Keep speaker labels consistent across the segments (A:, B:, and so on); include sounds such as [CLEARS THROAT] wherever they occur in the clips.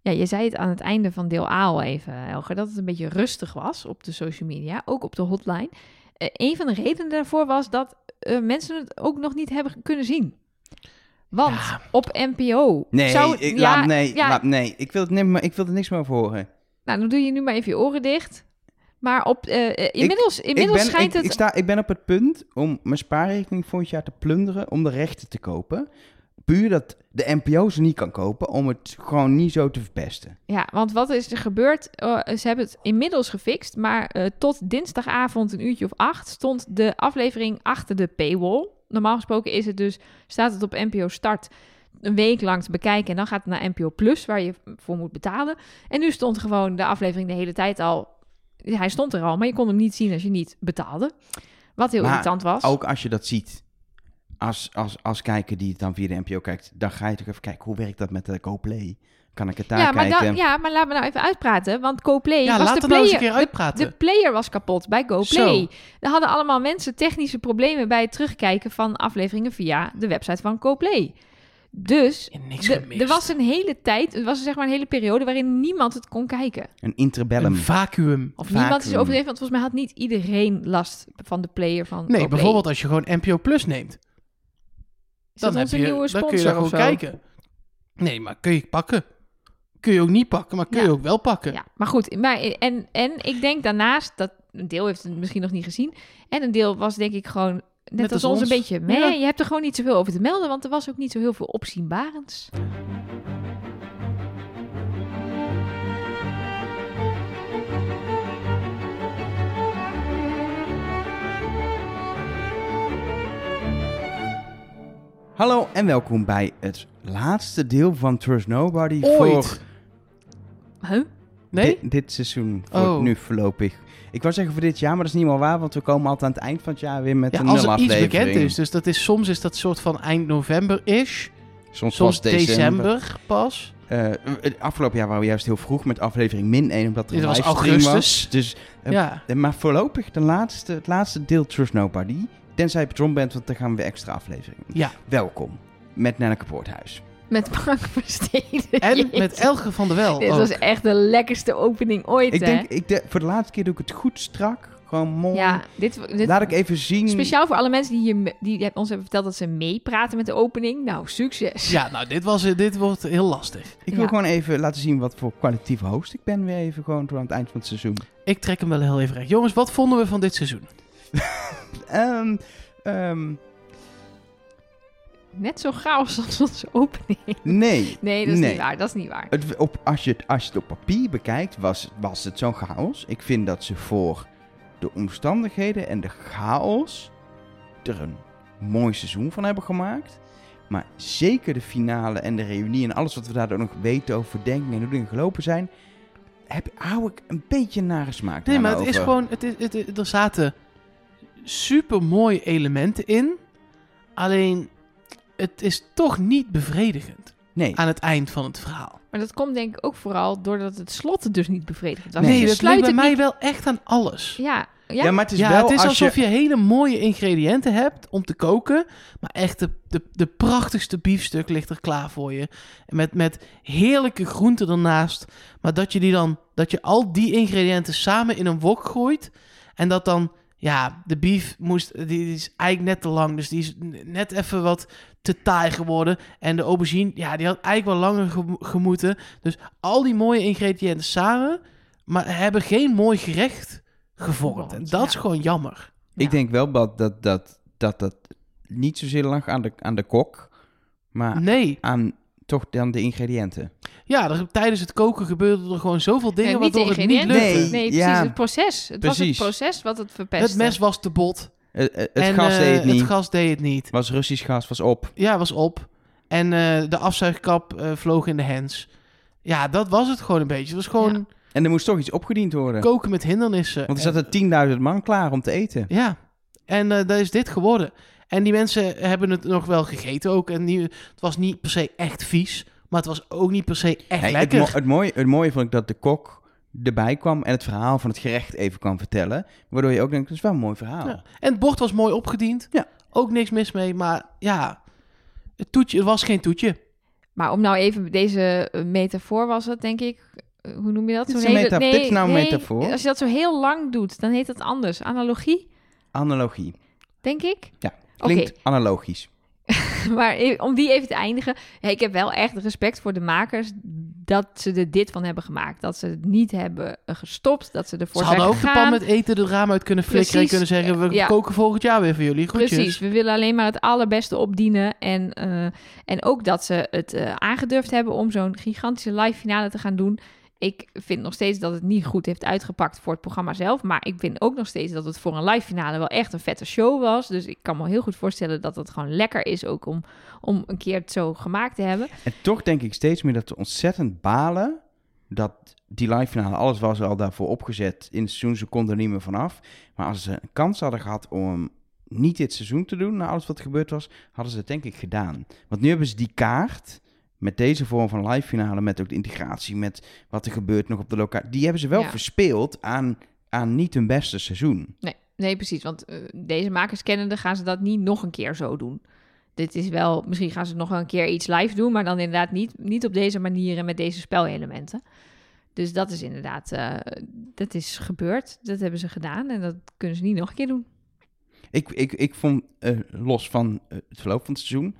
A: Ja, je zei het aan het einde van deel A al even, Helger, dat het een beetje rustig was op de social media, ook op de hotline. Eh, een van de redenen daarvoor was dat eh, mensen het ook nog niet hebben kunnen zien. Want
B: Ja.
A: op NPO
B: Nee,
A: zou...
B: ik,
A: ja,
B: laat, nee,
A: ja,
B: laat, nee. Ik, wil het niet, meer- ik wil er niks meer over horen.
A: Nou, dan doe je nu maar even je oren dicht. Maar op, eh, eh, inmiddels,
B: Ik
A: inmiddels
B: ben,
A: schijnt
B: ik,
A: het...
B: ik, sta, ik ben op het punt om mijn spaarrekening volgend jaar te plunderen om de rechten te kopen. Puur dat de NPO ze niet kan kopen om het gewoon niet zo te verpesten.
A: Ja, want wat is er gebeurd? Eh, ze hebben het inmiddels gefixt, maar eh, tot dinsdagavond een uurtje of acht stond de aflevering achter de paywall. Normaal gesproken is het dus, staat het op NPO Start een week lang te bekijken en dan gaat het naar NPO Plus, waar je voor moet betalen. En nu stond gewoon de aflevering de hele tijd al. Hij stond er al, maar je kon hem niet zien als je niet betaalde. Wat heel
B: Maar
A: irritant was.
B: Ook als je dat ziet, als, als, als kijker die het dan via de NPO kijkt, dan ga je toch even kijken, hoe werkt dat met de GoPlay? Kan ik het daar
A: ja, maar
B: kijken?
A: dan- ja, maar laat me nou even uitpraten, want CoPlay
C: Ja,
A: was
C: laat
A: de
C: het nou eens een
A: player-
C: keer
A: de
C: uitpraten.
A: De player was kapot bij GoPlay.
C: Zo.
A: Er hadden allemaal mensen technische problemen bij het terugkijken van afleveringen via de website van GoPlay. Dus
C: Ja, niks
A: de-
C: gemist.
A: er was een hele tijd, er was zeg maar een hele periode waarin niemand het kon kijken.
B: Een
C: een
B: interbellum.
C: vacuüm.
A: Of
B: Vaak,
A: niemand is
B: ehm,
A: overdreven, want volgens mij had niet iedereen last van de player van
C: Nee,
A: GoPlay.
C: bijvoorbeeld als je gewoon NPO Plus neemt.
A: Is dat
C: Dan, heb
A: onze
C: je,
A: nieuwe sponsor
C: dan kun je daar
A: of
C: gewoon
A: zo?
C: kijken. Nee, maar kun je pakken. Kun je ook niet pakken, maar kun
A: Ja.
C: je ook wel pakken.
A: Ja, maar goed. Maar, en, en ik denk daarnaast, dat een deel heeft het misschien nog niet gezien. En een deel was denk ik gewoon, net,
C: Net
A: als
C: als
A: ons,
C: ons.
A: een beetje mee.
C: Ja.
A: Je hebt er gewoon niet zoveel over te melden, want er was ook niet zo heel veel opzienbarends.
B: Hallo en welkom bij het laatste deel van Trust Nobody
C: Ooit.
B: voor
A: Huh?
C: Nee?
B: Dit, dit seizoen, voor
C: Oh.
B: nu voorlopig. Ik wou zeggen voor dit jaar, maar dat is niet meer waar, want we komen altijd aan het eind van het jaar weer met
C: Ja,
B: een
C: als er iets
B: nulaflevering.
C: bekend is. Dus dat is, soms is dat soort van eind november-ish.
B: Soms,
C: Soms
B: pas december.
C: december. pas.
B: Eh, het afgelopen jaar waren we juist heel vroeg met aflevering min 1, omdat er
C: Dit
B: een
C: was
B: livestream
C: augustus.
B: was. Dus, Eh,
C: Ja.
B: eh, maar voorlopig de laatste, het laatste deel Trust Nobody. Tenzij je patron bent, want dan gaan we weer extra afleveringen.
C: Ja.
B: Welkom met Nelleke Poorthuis.
A: Met Frank Versteden. [LAUGHS]
C: En
A: Jeetje.
C: met Elge van der Wel.
A: Dit
C: ook.
A: was echt de lekkerste opening ooit,
B: Ik
A: hè?
B: denk, ik de- voor de laatste keer doe ik het goed strak. Gewoon mooi.
A: ja, dit, dit
B: Laat ik even zien.
A: speciaal voor alle mensen die, hier, me- die ons hebben verteld dat ze meepraten met de opening. Nou, succes.
C: Ja, nou, dit, was, eh, dit wordt heel lastig.
B: Ik wil
A: Ja.
B: gewoon even laten zien wat voor kwalitatieve host ik ben. Weer even gewoon door aan het eind van het seizoen.
C: Ik trek hem wel heel even recht. Jongens, wat vonden we van dit seizoen?
B: Ehm, ehm,
A: Net zo chaos als onze opening.
B: nee.
A: Nee, dat is
B: Nee.
A: niet waar. Dat is niet waar.
B: Het, op, als, je het, als je het op papier bekijkt, was, was het zo'n chaos. Ik vind dat ze voor de omstandigheden en de chaos er een mooi seizoen van hebben gemaakt. Maar zeker de finale en de reunie en alles wat we daardoor nog weten over verdenkingen en hoe dingen gelopen zijn, heb, hou ik een beetje een nare smaak.
C: Nee, maar het
B: daaraan
C: is
B: over.
C: gewoon... Het is, het, het- er zaten supermooie elementen in. Alleen, het is toch niet bevredigend
B: Nee,
C: aan het eind van het verhaal.
A: Maar dat komt denk ik ook vooral doordat het slot dus niet bevredigend was.
B: Nee,
C: Nee,
A: Ze
C: dat lijkt
A: sluiten
C: bij mij
A: niet-
C: wel echt aan alles.
A: Ja, ja,
B: ja, maar het is
C: ja,
B: wel
C: het is
B: als
C: alsof
B: je...
C: je... hele mooie ingrediënten hebt om te koken. Maar echt de, de, de prachtigste biefstuk ligt er klaar voor je. Met, met heerlijke groenten ernaast. Maar dat je, die dan, dat je al die ingrediënten samen in een wok gooit. En dat dan, ja, de bief moest, die, die is eigenlijk net te lang. Dus die is n- net even wat te taai geworden. En de aubergine, ja, die had eigenlijk wel langer gemo- gemoeten. Dus al die mooie ingrediënten samen. Maar hebben geen mooi gerecht gevormd. En dat is
A: Ja.
C: gewoon jammer.
A: Ja.
B: Ik denk wel dat dat, dat, dat, dat niet zozeer lag aan de, aan de kok, maar
C: Nee.
B: aan toch dan de ingrediënten.
C: Ja, er, tijdens het koken gebeurden er gewoon zoveel dingen
A: Nee, niet
C: waardoor
A: de
C: het niet
A: ingrediënten.
C: lukte.
B: Nee.
A: Nee, precies.
B: ja.
A: Het proces. Het was het
B: Precies.
A: proces wat het verpestte.
C: Het mes was te bot.
B: Eh, eh, het
C: en,
B: gas
C: eh,
B: deed het niet.
C: Het gas deed het niet.
B: was Russisch gas, was op.
C: Ja, was op. En eh, de afzuigkap eh, vloog in de hens. Ja, dat was het gewoon een beetje. Het was gewoon
B: En er moest toch iets opgediend worden.
C: koken met hindernissen.
B: Want er
C: En-
B: zaten 10.000 man klaar om te eten.
C: Ja, en eh dat is dit geworden. En die mensen hebben het nog wel gegeten ook. En die, het was niet per se echt vies, maar het was ook niet per se echt
B: Nee, het,
C: lekker.
B: mo- het, mooie, het mooie vond ik dat de kok erbij kwam en het verhaal van het gerecht even kwam vertellen. Waardoor je ook denkt, dat is wel een mooi verhaal.
C: Ja. En het bord was mooi opgediend.
B: Ja.
C: Ook niks mis mee, maar ja, het, toetje, het was geen toetje.
A: Maar om nou even deze eh, metafoor was het, denk ik. Eh, Hoe noem je dat?
B: Dit is
A: Zo'n
B: een
A: hele-
B: meta- dit is nou een metafoor.
A: Als je dat zo heel lang doet, dan heet dat anders. Analogie,
B: Analogie.
A: denk ik.
B: Ja,
A: Oké.
B: klinkt analogisch.
A: [LAUGHS] Maar e- om die even te eindigen. ja, ik heb wel echt respect voor de makers dat ze er dit van hebben gemaakt. Dat ze het niet hebben eh, gestopt. Dat ze ervoor
C: Ze
A: zijn
C: hadden ook de pan
A: gegaan.
C: met eten er raam uit kunnen flikkeren en
A: Precies.
C: kunnen zeggen... we
A: Ja.
C: koken volgend jaar weer voor jullie. Groetjes.
A: Precies, we willen alleen maar het allerbeste opdienen. En, eh, en ook dat ze het eh, aangedurfd hebben om zo'n gigantische live finale te gaan doen. Ik vind nog steeds dat het niet goed heeft uitgepakt voor het programma zelf. Maar ik vind ook nog steeds dat het voor een live finale wel echt een vette show was. Dus ik kan me heel goed voorstellen dat het gewoon lekker is ook om, om een keer het zo gemaakt te hebben.
B: En toch denk ik steeds meer dat we ontzettend balen dat die live finale, alles was al daarvoor opgezet in het seizoen, ze konden er niet meer vanaf. Maar als ze een kans hadden gehad om niet dit seizoen te doen, na alles wat er gebeurd was, hadden ze het denk ik gedaan. Want nu hebben ze die kaart met deze vorm van live finale, met ook de integratie, met wat er gebeurt nog op de locatie, die hebben ze wel
A: Ja.
B: verspeeld aan, aan niet hun beste seizoen.
A: Nee, nee precies. Want eh, deze makers kennende gaan ze dat niet nog een keer zo doen. Dit is wel, misschien gaan ze nog wel een keer iets live doen, maar dan inderdaad niet, niet op deze manier en met deze spelelementen. Dus dat is inderdaad, eh, dat is gebeurd. Dat hebben ze gedaan en dat kunnen ze niet nog een keer doen.
B: Ik, ik, ik vond, eh, los van eh, het verloop van het seizoen,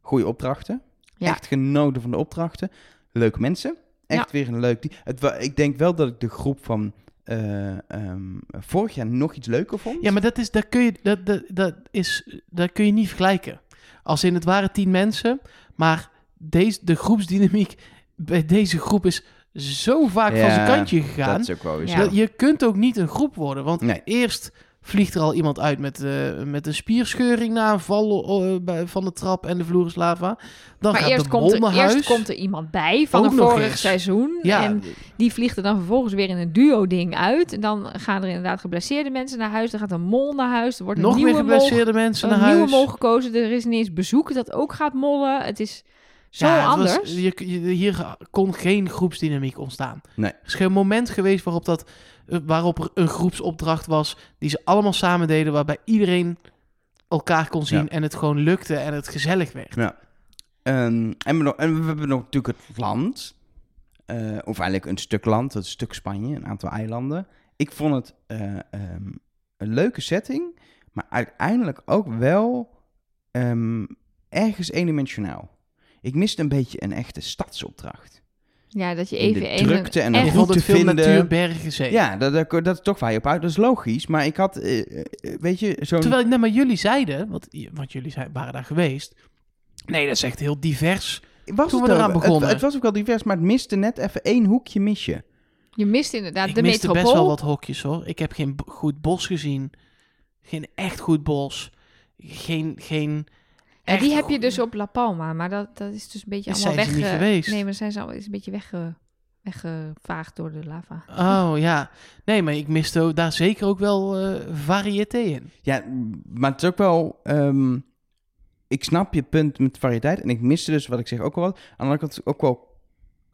B: goede opdrachten.
A: Ja.
B: Echt genoten van de opdrachten. Leuke mensen. Echt weer een leuk... die- Het, wa- ik denk wel dat ik de groep van eh, ehm, vorig jaar nog iets leuker vond.
C: Ja, maar dat is, dat kun je, dat, dat, dat is, dat kun je niet vergelijken. Als in het waren tien mensen, maar deze, de groepsdynamiek bij deze groep is zo vaak van
B: Ja,
C: zijn kantje gegaan.
B: dat is ook wel weer
A: Ja.
B: zo.
C: Dat- Je kunt ook niet een groep worden, want
B: Nee.
C: eerst vliegt er al iemand uit met, eh, met een spierscheuring na een val eh, bij- van de trap en de vloer is lava. Dan
A: maar
C: gaat
A: eerst
C: de
A: komt,
C: bol
A: er,
C: naar
A: eerst
C: huis.
A: komt er iemand bij van
C: Ook
A: een
C: nog
A: vorig
C: eens.
A: seizoen.
C: Ja.
A: En die vliegt er dan vervolgens weer in een duo-ding uit. En dan gaan er inderdaad geblesseerde mensen naar huis. Dan gaat een mol naar huis. Er wordt een
C: Nog
A: nieuwe
C: meer
A: mol
C: geblesseerde mensen
A: een
C: naar huis.
A: nieuwe mol gekozen. Er is ineens bezoek dat ook gaat mollen. Het is zo
C: Ja, het was-
A: anders.
C: je, je- hier kon geen groepsdynamiek ontstaan.
B: Nee.
C: Er is geen moment geweest waarop, dat, eh, waarop er een groepsopdracht was die ze allemaal samen deden, waarbij iedereen elkaar kon zien
B: Ja.
C: en het gewoon lukte en het gezellig werd.
B: Ehm, en, we, nog- en we hebben nog natuurlijk het land. Eh, of eigenlijk een stuk land, dat is een stuk Spanje, een aantal eilanden. Ik vond het eh, ehm, een leuke setting, maar uiteindelijk ook wel ehm, ergens eendimensionaal. Ik miste een beetje een echte stadsopdracht.
A: Ja, dat je
B: In de
A: even een-
B: drukte en de
A: echt-
C: Ik
B: goed
C: vond het
B: te
C: veel
B: vinden.
C: natuur, bergen, zee.
B: Ja, dat, dat, dat is toch waar je op uit. Dat is logisch, maar ik had, eh, eh, weet je, zo'n...
C: Terwijl, nee, maar jullie zeiden, want, want jullie zei- waren daar geweest. Nee, dat is echt heel divers.
B: was
C: toen
B: het
C: we
B: ook-
C: eraan
B: het-
C: begonnen.
B: Het, was ook wel divers, maar het miste net even één hoekje mis je.
A: Je mist inderdaad
C: ik
A: de
C: miste
A: metropool.
C: best wel wat hokjes hoor. Ik heb geen b- goed bos gezien. Geen echt goed bos. Geen, geen
A: En die
C: echt
A: heb je
C: goed-
A: dus op La Palma, maar dat, dat is dus een beetje
C: Dus
A: allemaal
C: zijn ze
A: weg.
C: niet geweest?
A: Nee, maar zijn ze allemaal is een beetje wegge, weggevaagd door de lava.
C: Oh ja. Nee, maar ik miste ook- daar zeker ook wel eh, variété in.
B: Ja, maar het is ook wel. ehm, ik snap je punt met variëteit. En ik miste dus wat ik zeg ook wel wat. Aan de andere kant ook wel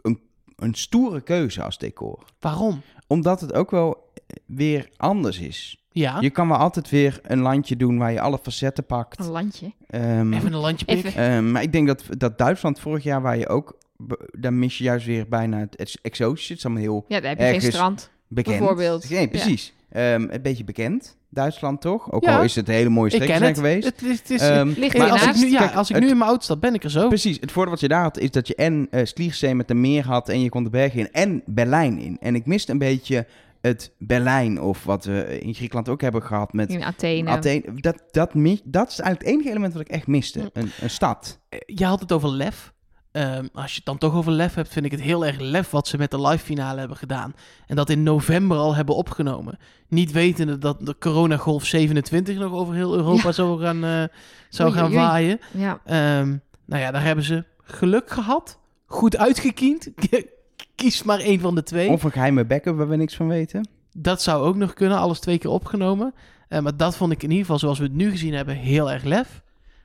B: een, een stoere keuze als decor.
C: Waarom?
B: Omdat het ook wel eh, weer anders is.
C: Ja.
B: Je kan wel altijd weer een landje doen waar je alle facetten pakt.
C: Oh.
A: Een landje.
B: Ehm,
C: Even een landje
A: Even-
C: pikken.
B: ehm, maar ik denk dat, dat Duitsland vorig jaar, waar je ook. be- Daar mis je juist weer bijna het ex- exotische. Het is allemaal heel
A: Ja, daar heb je geen
B: Ergens-
A: strand.
B: bekend.
A: Bijvoorbeeld.
B: Nee, precies. Ehm, een beetje bekend. Duitsland toch? Ook
C: Ja.
B: al is het een hele mooie
C: Ik
B: streek
C: ken
B: zijn
C: het.
B: geweest.
C: Het is, het is,
B: Ehm,
A: Ligt
C: eh, als, ik
A: ernaast.
C: nu, ja,
B: Kijk,
C: als ik
B: het-
C: nu in mijn auto stap, ben ik er zo.
B: Precies, het voordeel wat je daar had is dat je en eh Schliersee met de meer had en je kon de bergen in en Berlijn in. En ik miste een beetje het Berlijn of wat we in Griekenland ook hebben gehad met
A: In Athene.
B: Athene. Dat, dat, mi- dat is eigenlijk het enige element wat ik echt miste,
A: Hm.
B: een, een stad.
C: Eh, Je had het over lef. Ehm, als je het dan toch over lef hebt, vind ik het heel erg lef wat ze met de live finale hebben gedaan. En dat in november al hebben opgenomen. Niet wetende dat de coronagolf 27 nog over heel Europa
A: Ja.
C: zou gaan, eh, zou
A: Oei,
C: gaan
A: oei.
C: waaien.
A: Ja.
C: Ehm, nou ja, daar hebben ze geluk gehad. Goed uitgekiend. [LAUGHS] Kies maar één van de twee.
B: Of een geheime bekken waar we niks van weten.
C: Dat zou ook nog kunnen, alles twee keer opgenomen. Eh, maar dat vond ik in ieder geval, zoals we het nu gezien hebben, heel erg lef.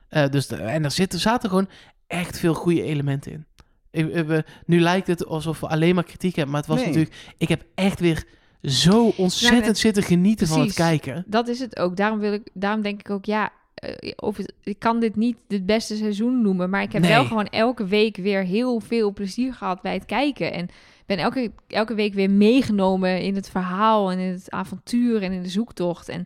C: Eh, dus de- en er zitten, zaten gewoon echt veel goede elementen in. Ik, eh, we- nu lijkt het alsof we alleen maar kritiek hebben, maar het was
B: Nee.
C: natuurlijk... Ik heb echt weer zo ontzettend
A: Ja, net-
C: zitten genieten van het
A: precies.
C: kijken.
A: Dat is het ook. Daarom, wil ik, daarom denk ik ook, ja, eh, eh, of het- ik kan dit niet het beste seizoen noemen, maar ik heb
C: Nee.
A: wel gewoon elke week weer heel veel plezier gehad bij het kijken. En ben elke, elke week weer meegenomen in het verhaal en in het avontuur en in de zoektocht. En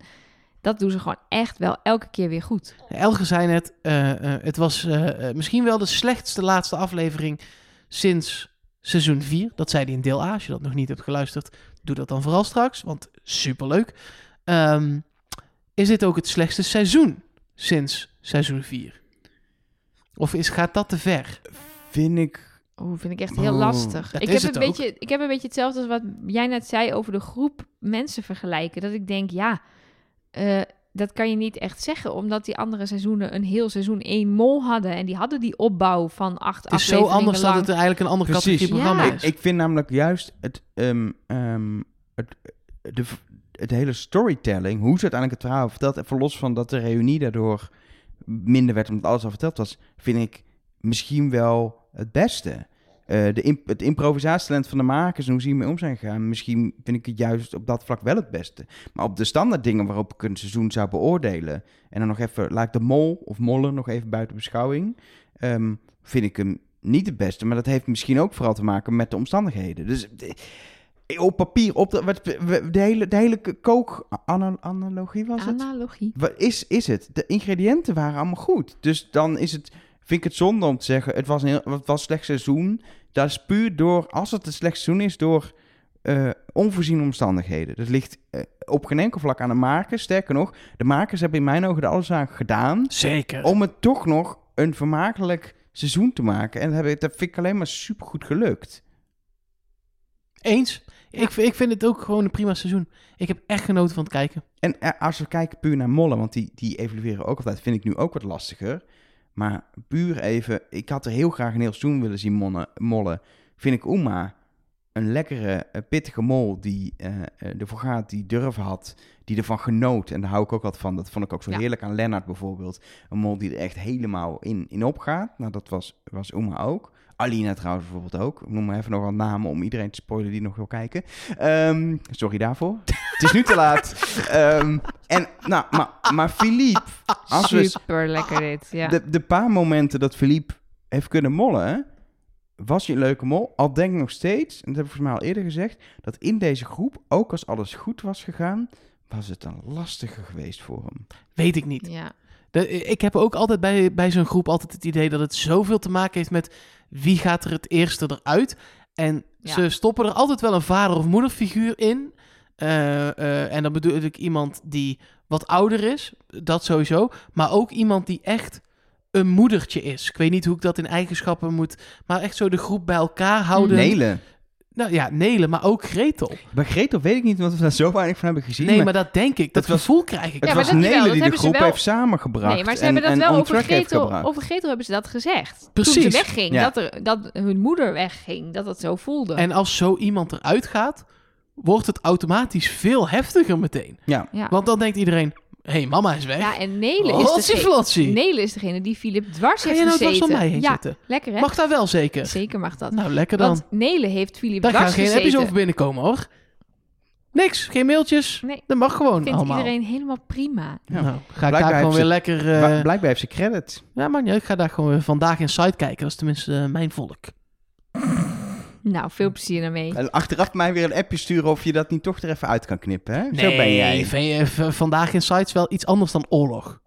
A: dat doen ze gewoon echt wel elke keer weer goed.
C: Elge zei net, eh, eh, het was eh, eh, misschien wel de slechtste laatste aflevering sinds seizoen 4. Dat zei hij in deel A. Als je dat nog niet hebt geluisterd, doe dat dan vooral straks, want superleuk. Ehm, is dit ook het slechtste seizoen sinds seizoen 4? Of is, gaat dat te ver?
B: Vind ik...
A: Oeh, vind ik echt heel
B: Oeh,
A: lastig.
C: dat
A: Ik
C: is
A: heb,
C: het
A: een
C: ook.
A: beetje, ik heb een beetje hetzelfde als wat jij net zei over de groep mensen vergelijken. Dat ik denk, ja, eh, dat kan je niet echt zeggen. Omdat die andere seizoenen een heel seizoen één mol hadden. En die hadden die opbouw van acht
C: Het is zo
A: afleveringen
C: anders dat
A: lang.
C: het eigenlijk een andere
B: Precies.
C: categorie
A: Ja.
C: programma
A: Ik-
C: is.
B: Ik vind namelijk juist het, ehm, ehm, het, de, het hele storytelling, hoe ze uiteindelijk het verhaal vertelt, en voor los van dat de reunie daardoor minder werd omdat alles al verteld was, vind ik misschien wel het beste. Eh, de imp- het improvisatietalent van de makers en hoe ze hiermee om zijn gegaan, misschien vind ik het juist op dat vlak wel het beste. Maar op de standaard dingen waarop ik een seizoen zou beoordelen, en dan nog even, laat ik de mol of mollen nog even buiten beschouwing, ehm, vind ik hem niet het beste. Maar dat heeft misschien ook vooral te maken met de omstandigheden. Dus eh, op papier, op de, wat- we- de hele, de hele kook-analogie was het?
A: Analogie.
B: Wat is, is het? De ingrediënten waren allemaal goed. Dus dan is het, vind ik het zonde om te zeggen, het was een, heel, het was een slecht seizoen. Dat is puur door, als het een slecht seizoen is, door eh, onvoorziene omstandigheden. Dat ligt eh, op geen enkel vlak aan de makers. Sterker nog, de makers hebben in mijn ogen er alles aan gedaan
C: Zeker.
B: om het toch nog een vermakelijk seizoen te maken. En dat, heb ik, dat vind ik alleen maar supergoed gelukt.
C: Eens. Ik, ik vind het ook gewoon een prima seizoen. Ik heb echt genoten van het kijken.
B: En eh, als we kijken puur naar mollen, want die, die evalueren ook altijd, vind ik nu ook wat lastiger. Maar puur even, ik had er heel graag een heel seizoen willen zien monnen- mollen. Vind ik Uma een lekkere, eh, pittige mol die eh, eh, ervoor gaat, die durf had, die ervan genoot. En daar hou ik ook wat van. Dat vond ik ook zo
A: Ja.
B: heerlijk aan Lennart bijvoorbeeld. Een mol die er echt helemaal in, in opgaat. Nou, dat was, was Uma ook. Alina trouwens bijvoorbeeld ook. Ik noem maar even nog wat namen om iedereen te spoilen die nog wil kijken. Ehm, sorry daarvoor. Het is nu te laat. Ehm, en, nou, maar, maar Philippe, als we,
A: Super lekker dit,
C: Ah,
A: ja.
B: de, de paar momenten dat Philippe heeft kunnen mollen, was hij een leuke mol. Al denk ik nog steeds, en dat heb ik volgens mij al eerder gezegd, dat in deze groep, ook als alles goed was gegaan, was het dan lastiger geweest voor hem.
C: Weet ik niet.
A: ja.
C: De- ik heb ook altijd bij, bij zo'n groep altijd het idee dat het zoveel te maken heeft met wie gaat er het eerste eruit. En
A: Ja.
C: ze stoppen er altijd wel een vader- of moederfiguur in. Eh, eh, en dan bedoel ik iemand die wat ouder is, dat sowieso. Maar ook iemand die echt een moedertje is. Ik weet niet hoe ik dat in eigenschappen moet, maar echt zo de groep bij elkaar houden.
B: Nelen.
C: Nou ja, Nele, maar ook Gretel.
B: Bij Gretel weet ik niet, want we daar zo weinig van hebben gezien.
C: Nee,
B: maar
C: maar dat denk ik. Dat
B: Het was-
C: gevoel krijg ik.
B: het
A: Ja, maar
B: was
A: dat jawel,
B: Nelen
A: dat
B: die de
A: hebben ze
B: groep
A: wel-
B: heeft samengebracht.
A: Nee, maar ze
B: en,
A: hebben dat
B: en
A: wel
B: on
A: over
B: track heeft
A: Gretel,
B: gebracht.
A: over Gretel hebben ze dat gezegd. Toen ze
C: Precies.
A: wegging,
B: Ja.
A: dat, er, dat hun moeder wegging, dat dat zo voelde.
C: En als zo iemand eruit gaat, wordt het automatisch veel heftiger meteen.
B: Ja,
A: ja.
C: Want dan denkt iedereen, hé, hey, mama is weg.
A: ja,
C: Ja,
A: en Nele is, degene,
C: flotsie.
A: Nele is degene die Filip dwars
C: Ga
A: heeft
C: je nou dwars
A: gezeten.
C: om mij heen
A: ja,
C: zitten?
A: lekker hè?
C: Mag daar wel zeker?
A: Zeker mag dat.
C: Nou, lekker dan.
A: Want Nele heeft Filip
C: Daar gaan
A: dwars
C: geen appjes
A: gezeten.
C: over binnenkomen, hoor. Niks, geen mailtjes.
A: Nee,
C: Dat mag gewoon
A: vindt
C: allemaal.
A: iedereen helemaal prima.
B: Ja.
C: Nou, ga ik daar
B: Blijkbaar
C: gewoon
B: heeft
C: weer
B: ze-
C: lekker...
B: Bla-
C: eh
B: blijkbaar heeft ze credit.
C: ja, man, ik ga daar gewoon weer vandaag in site kijken. Dat is tenminste eh, mijn volk.
A: Nou, veel plezier daarmee.
B: En achteraf mij weer een appje sturen of je dat niet toch er even uit kan knippen, hè? zo
C: Nee,
B: ben jij.
C: vind je, v- vandaag in site is wel iets anders dan oorlog.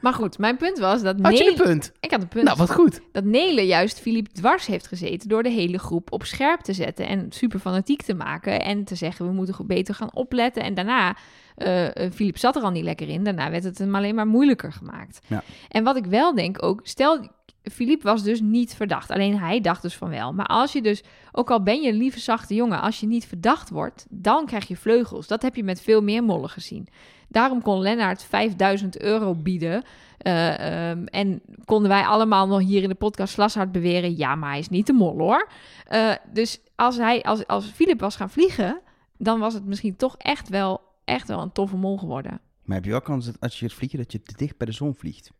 A: Maar goed, mijn punt was dat
C: Had je een
A: Nele...
C: punt?
A: Ik had een punt.
C: Nou, wat goed.
A: Dat Nele juist Filip dwars heeft gezeten door de hele groep op scherp te zetten en super fanatiek te maken en te zeggen we moeten goed beter gaan opletten. En daarna, eh, eh, Filip zat er al niet lekker in, daarna werd het hem alleen maar moeilijker gemaakt.
B: Ja.
A: En wat ik wel denk ook, stel Filip was dus niet verdacht, alleen hij dacht dus van wel. Maar als je dus, ook al ben je een lieve zachte jongen, als je niet verdacht wordt, dan krijg je vleugels. Dat heb je met veel meer mollen gezien. Daarom kon Lennart 5000 euro bieden. eh, ehm, en konden wij allemaal nog hier in de podcast slashard beweren... ja, maar hij is niet de mol, hoor. Eh, dus als, hij, als, als Filip was gaan vliegen... dan was het misschien toch echt wel, echt wel een toffe mol geworden.
B: Maar heb je wel kans dat als je gaat vliegen, dat je te dicht bij de zon vliegt?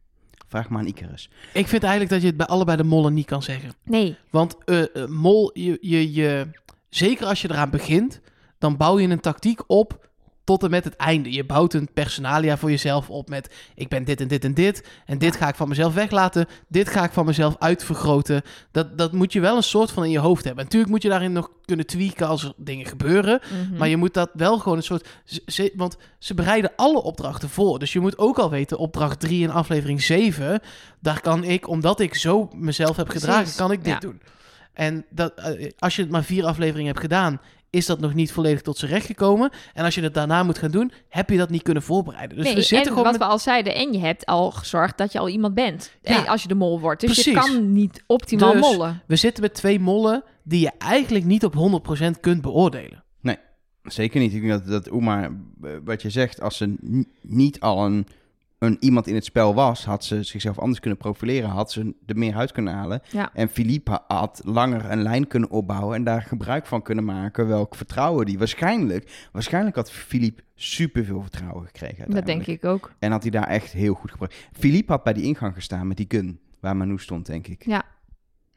B: Vraag maar aan Icarus.
C: Ik vind eigenlijk dat je het bij allebei de mollen niet kan zeggen.
A: Nee,
C: Want eh, eh, mol, je, je, je, zeker als je eraan begint, dan bouw je een tactiek op tot en met het einde. Je bouwt een personalia voor jezelf op met... ik ben dit en dit en dit... en dit ga ik van mezelf weglaten... dit ga ik van mezelf uitvergroten. Dat, dat moet je wel een soort van in je hoofd hebben. Natuurlijk moet je daarin nog kunnen tweaken als er dingen gebeuren...
A: Mhm.
C: Maar je moet dat wel gewoon een soort. ze- ze- want ze bereiden alle opdrachten voor. Dus je moet ook al weten, opdracht 3 in aflevering 7. Daar kan ik, omdat ik zo mezelf heb gedragen,
A: Precies,
C: kan ik dit
A: ja.
C: doen. En dat, eh, als je het maar vier afleveringen hebt gedaan, is dat nog niet volledig tot zijn recht gekomen. En als je het daarna moet gaan doen, heb je dat niet kunnen voorbereiden. Dus we
A: nee, en
C: zitten
A: wat
C: gewoon.
A: we
C: Met,
A: al zeiden, en je hebt al gezorgd dat je al iemand bent.
C: Ja.
A: En als je de mol wordt. Dus je
C: Precies.
A: kan niet optimaal
C: Dus-
A: mollen.
C: we zitten met twee mollen die je eigenlijk niet op 100% kunt beoordelen.
B: Zeker niet. Ik denk dat, dat Oema, eh, wat je zegt, als ze ni- niet al een, een iemand in het spel was, had ze zichzelf anders kunnen profileren, had ze er meer uit kunnen halen.
A: Ja.
B: En Philippe had langer een lijn kunnen opbouwen en daar gebruik van kunnen maken. Welk vertrouwen die waarschijnlijk, waarschijnlijk had Philippe superveel vertrouwen gekregen.
A: Dat denk
B: uiteindelijk.
A: ik ook.
B: En had hij daar echt heel goed gebruikt. Philippe had bij die ingang gestaan met die gun, waar Manu stond, denk ik.
A: Ja.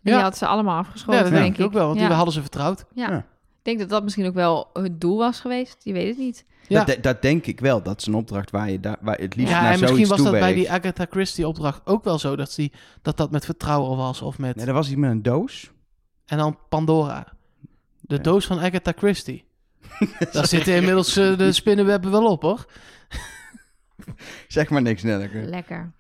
A: En
C: Ja.
A: je had ze allemaal afgeschoten,
C: ja, dat denk
A: denk
C: ik ook wel, want
A: ja.
C: die hadden ze vertrouwd.
A: Ja.
B: Ja.
A: Ik denk dat dat misschien ook wel het doel was geweest. Je weet het niet.
C: Ja.
B: Dat, dat denk ik wel. Dat is een opdracht waar je, daar waar je het liefst
C: Ja,
B: naar
C: en
B: zoiets
C: misschien was dat
B: toewerkt.
C: bij die Agatha Christie opdracht ook wel zo dat, die, dat dat met vertrouwen was of met...
B: Nee, dat was iets met een doos. [LAUGHS]
C: En dan Pandora. De
B: Ja.
C: doos van Agatha
B: [LAUGHS]
C: Christie. Daar zitten inmiddels eh, de spinnenwebben wel op, hoor.
B: Zeg maar niks, Nelleke.
A: Lekker.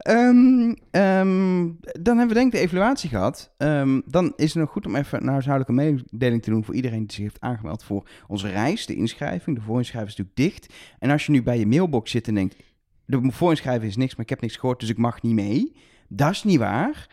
B: Ehm, ehm, dan hebben we denk ik de evaluatie gehad. Ehm, dan is het nog goed om even een huishoudelijke mededeling te doen voor iedereen die zich heeft aangemeld voor onze reis, de inschrijving. De voorinschrijving is natuurlijk dicht. En als je nu bij je mailbox zit en denkt, de voorinschrijving is niks, maar ik heb niks gehoord, dus ik mag niet mee. Dat is niet waar.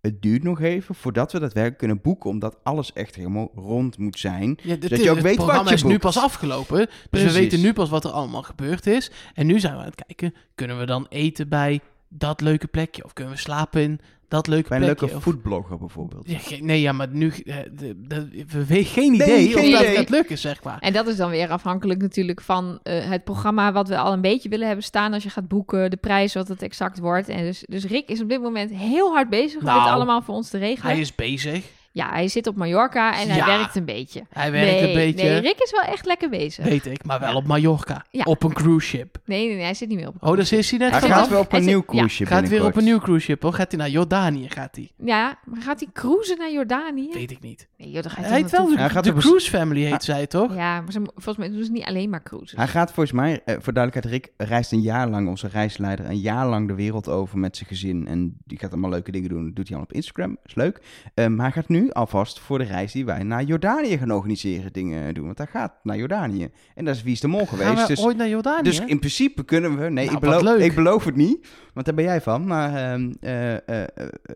B: Het duurt nog even voordat we dat werk kunnen boeken, omdat alles echt helemaal rond moet zijn.
C: Ja, dit,
B: Zodat je ook
C: het
B: weet wat
C: programma
B: je
C: is nu
B: boekt.
C: pas afgelopen. Dus
B: Precies.
C: we weten nu pas wat er allemaal gebeurd is. En nu zijn we aan het kijken, kunnen we dan eten bij dat leuke plekje? Of kunnen we slapen in dat leuke
B: Bij een
C: plekje?
B: leuke
C: Of-
B: foodblogger bijvoorbeeld.
C: Ja, ge- nee, ja, maar nu... eh, de- de- we weten geen idee
B: geen
C: of dat
B: idee.
C: gaat lukken, zeg maar.
A: En dat is dan weer afhankelijk natuurlijk van eh, het programma wat we al een beetje willen hebben staan. Als je gaat boeken, de prijs, wat het exact wordt. En dus, dus Rick is op dit moment heel hard bezig om
C: Nou,
A: dit allemaal voor ons te regelen.
C: Hij is bezig.
A: Ja, hij zit op Mallorca en hij
C: Ja.
A: werkt een beetje.
C: Hij werkt
A: nee,
C: een beetje...
A: Nee, Rick is wel echt lekker bezig.
C: Weet ik, maar wel
A: Ja.
C: op Mallorca.
A: Ja.
C: Op een cruise ship.
A: Nee, nee, nee, hij zit niet meer op.
C: Oh, dus is hij net
B: Hij
A: zit
C: vanaf?
B: gaat
A: af-
B: wel op
A: hij
B: een
A: zit-
B: nieuw
A: ja.
B: koersje
C: Gaat weer op
B: binnenkort.
C: een nieuw cruise ship, hoor. Gaat hij naar Jordanië, gaat hij?
A: Ja, maar gaat hij cruisen naar Jordanië?
C: Weet ik niet.
A: Nee, joh, daar gaat
C: Hij,
A: hij
C: heet wel de,
A: naartoe.
B: Hij gaat
C: de
B: op een-
C: Cruise Family, heet zij, toch?
A: Ja, maar ze, volgens mij doen ze niet alleen maar cruisen.
B: Hij gaat volgens mij, eh, voor duidelijkheid, Rick reist een jaar lang, onze reisleider, een jaar lang de wereld over met zijn gezin. En die gaat allemaal leuke dingen doen. Dat doet hij allemaal op Instagram, is leuk. Eh, maar hij gaat nu alvast voor de reis die wij naar Jordanië gaan organiseren dingen doen. Want hij gaat naar Jordanië. En dat is Wie is de Mol
C: Gaan
B: geweest.
C: we
B: Dus,
C: ooit naar Jordanië?
B: dus in principe kunnen we, nee,
C: Ah, Nou,
B: ik,
C: wat
B: beloof,
C: leuk.
B: ik beloof het niet, want daar ben jij van. Maar ehm, eh, eh, eh,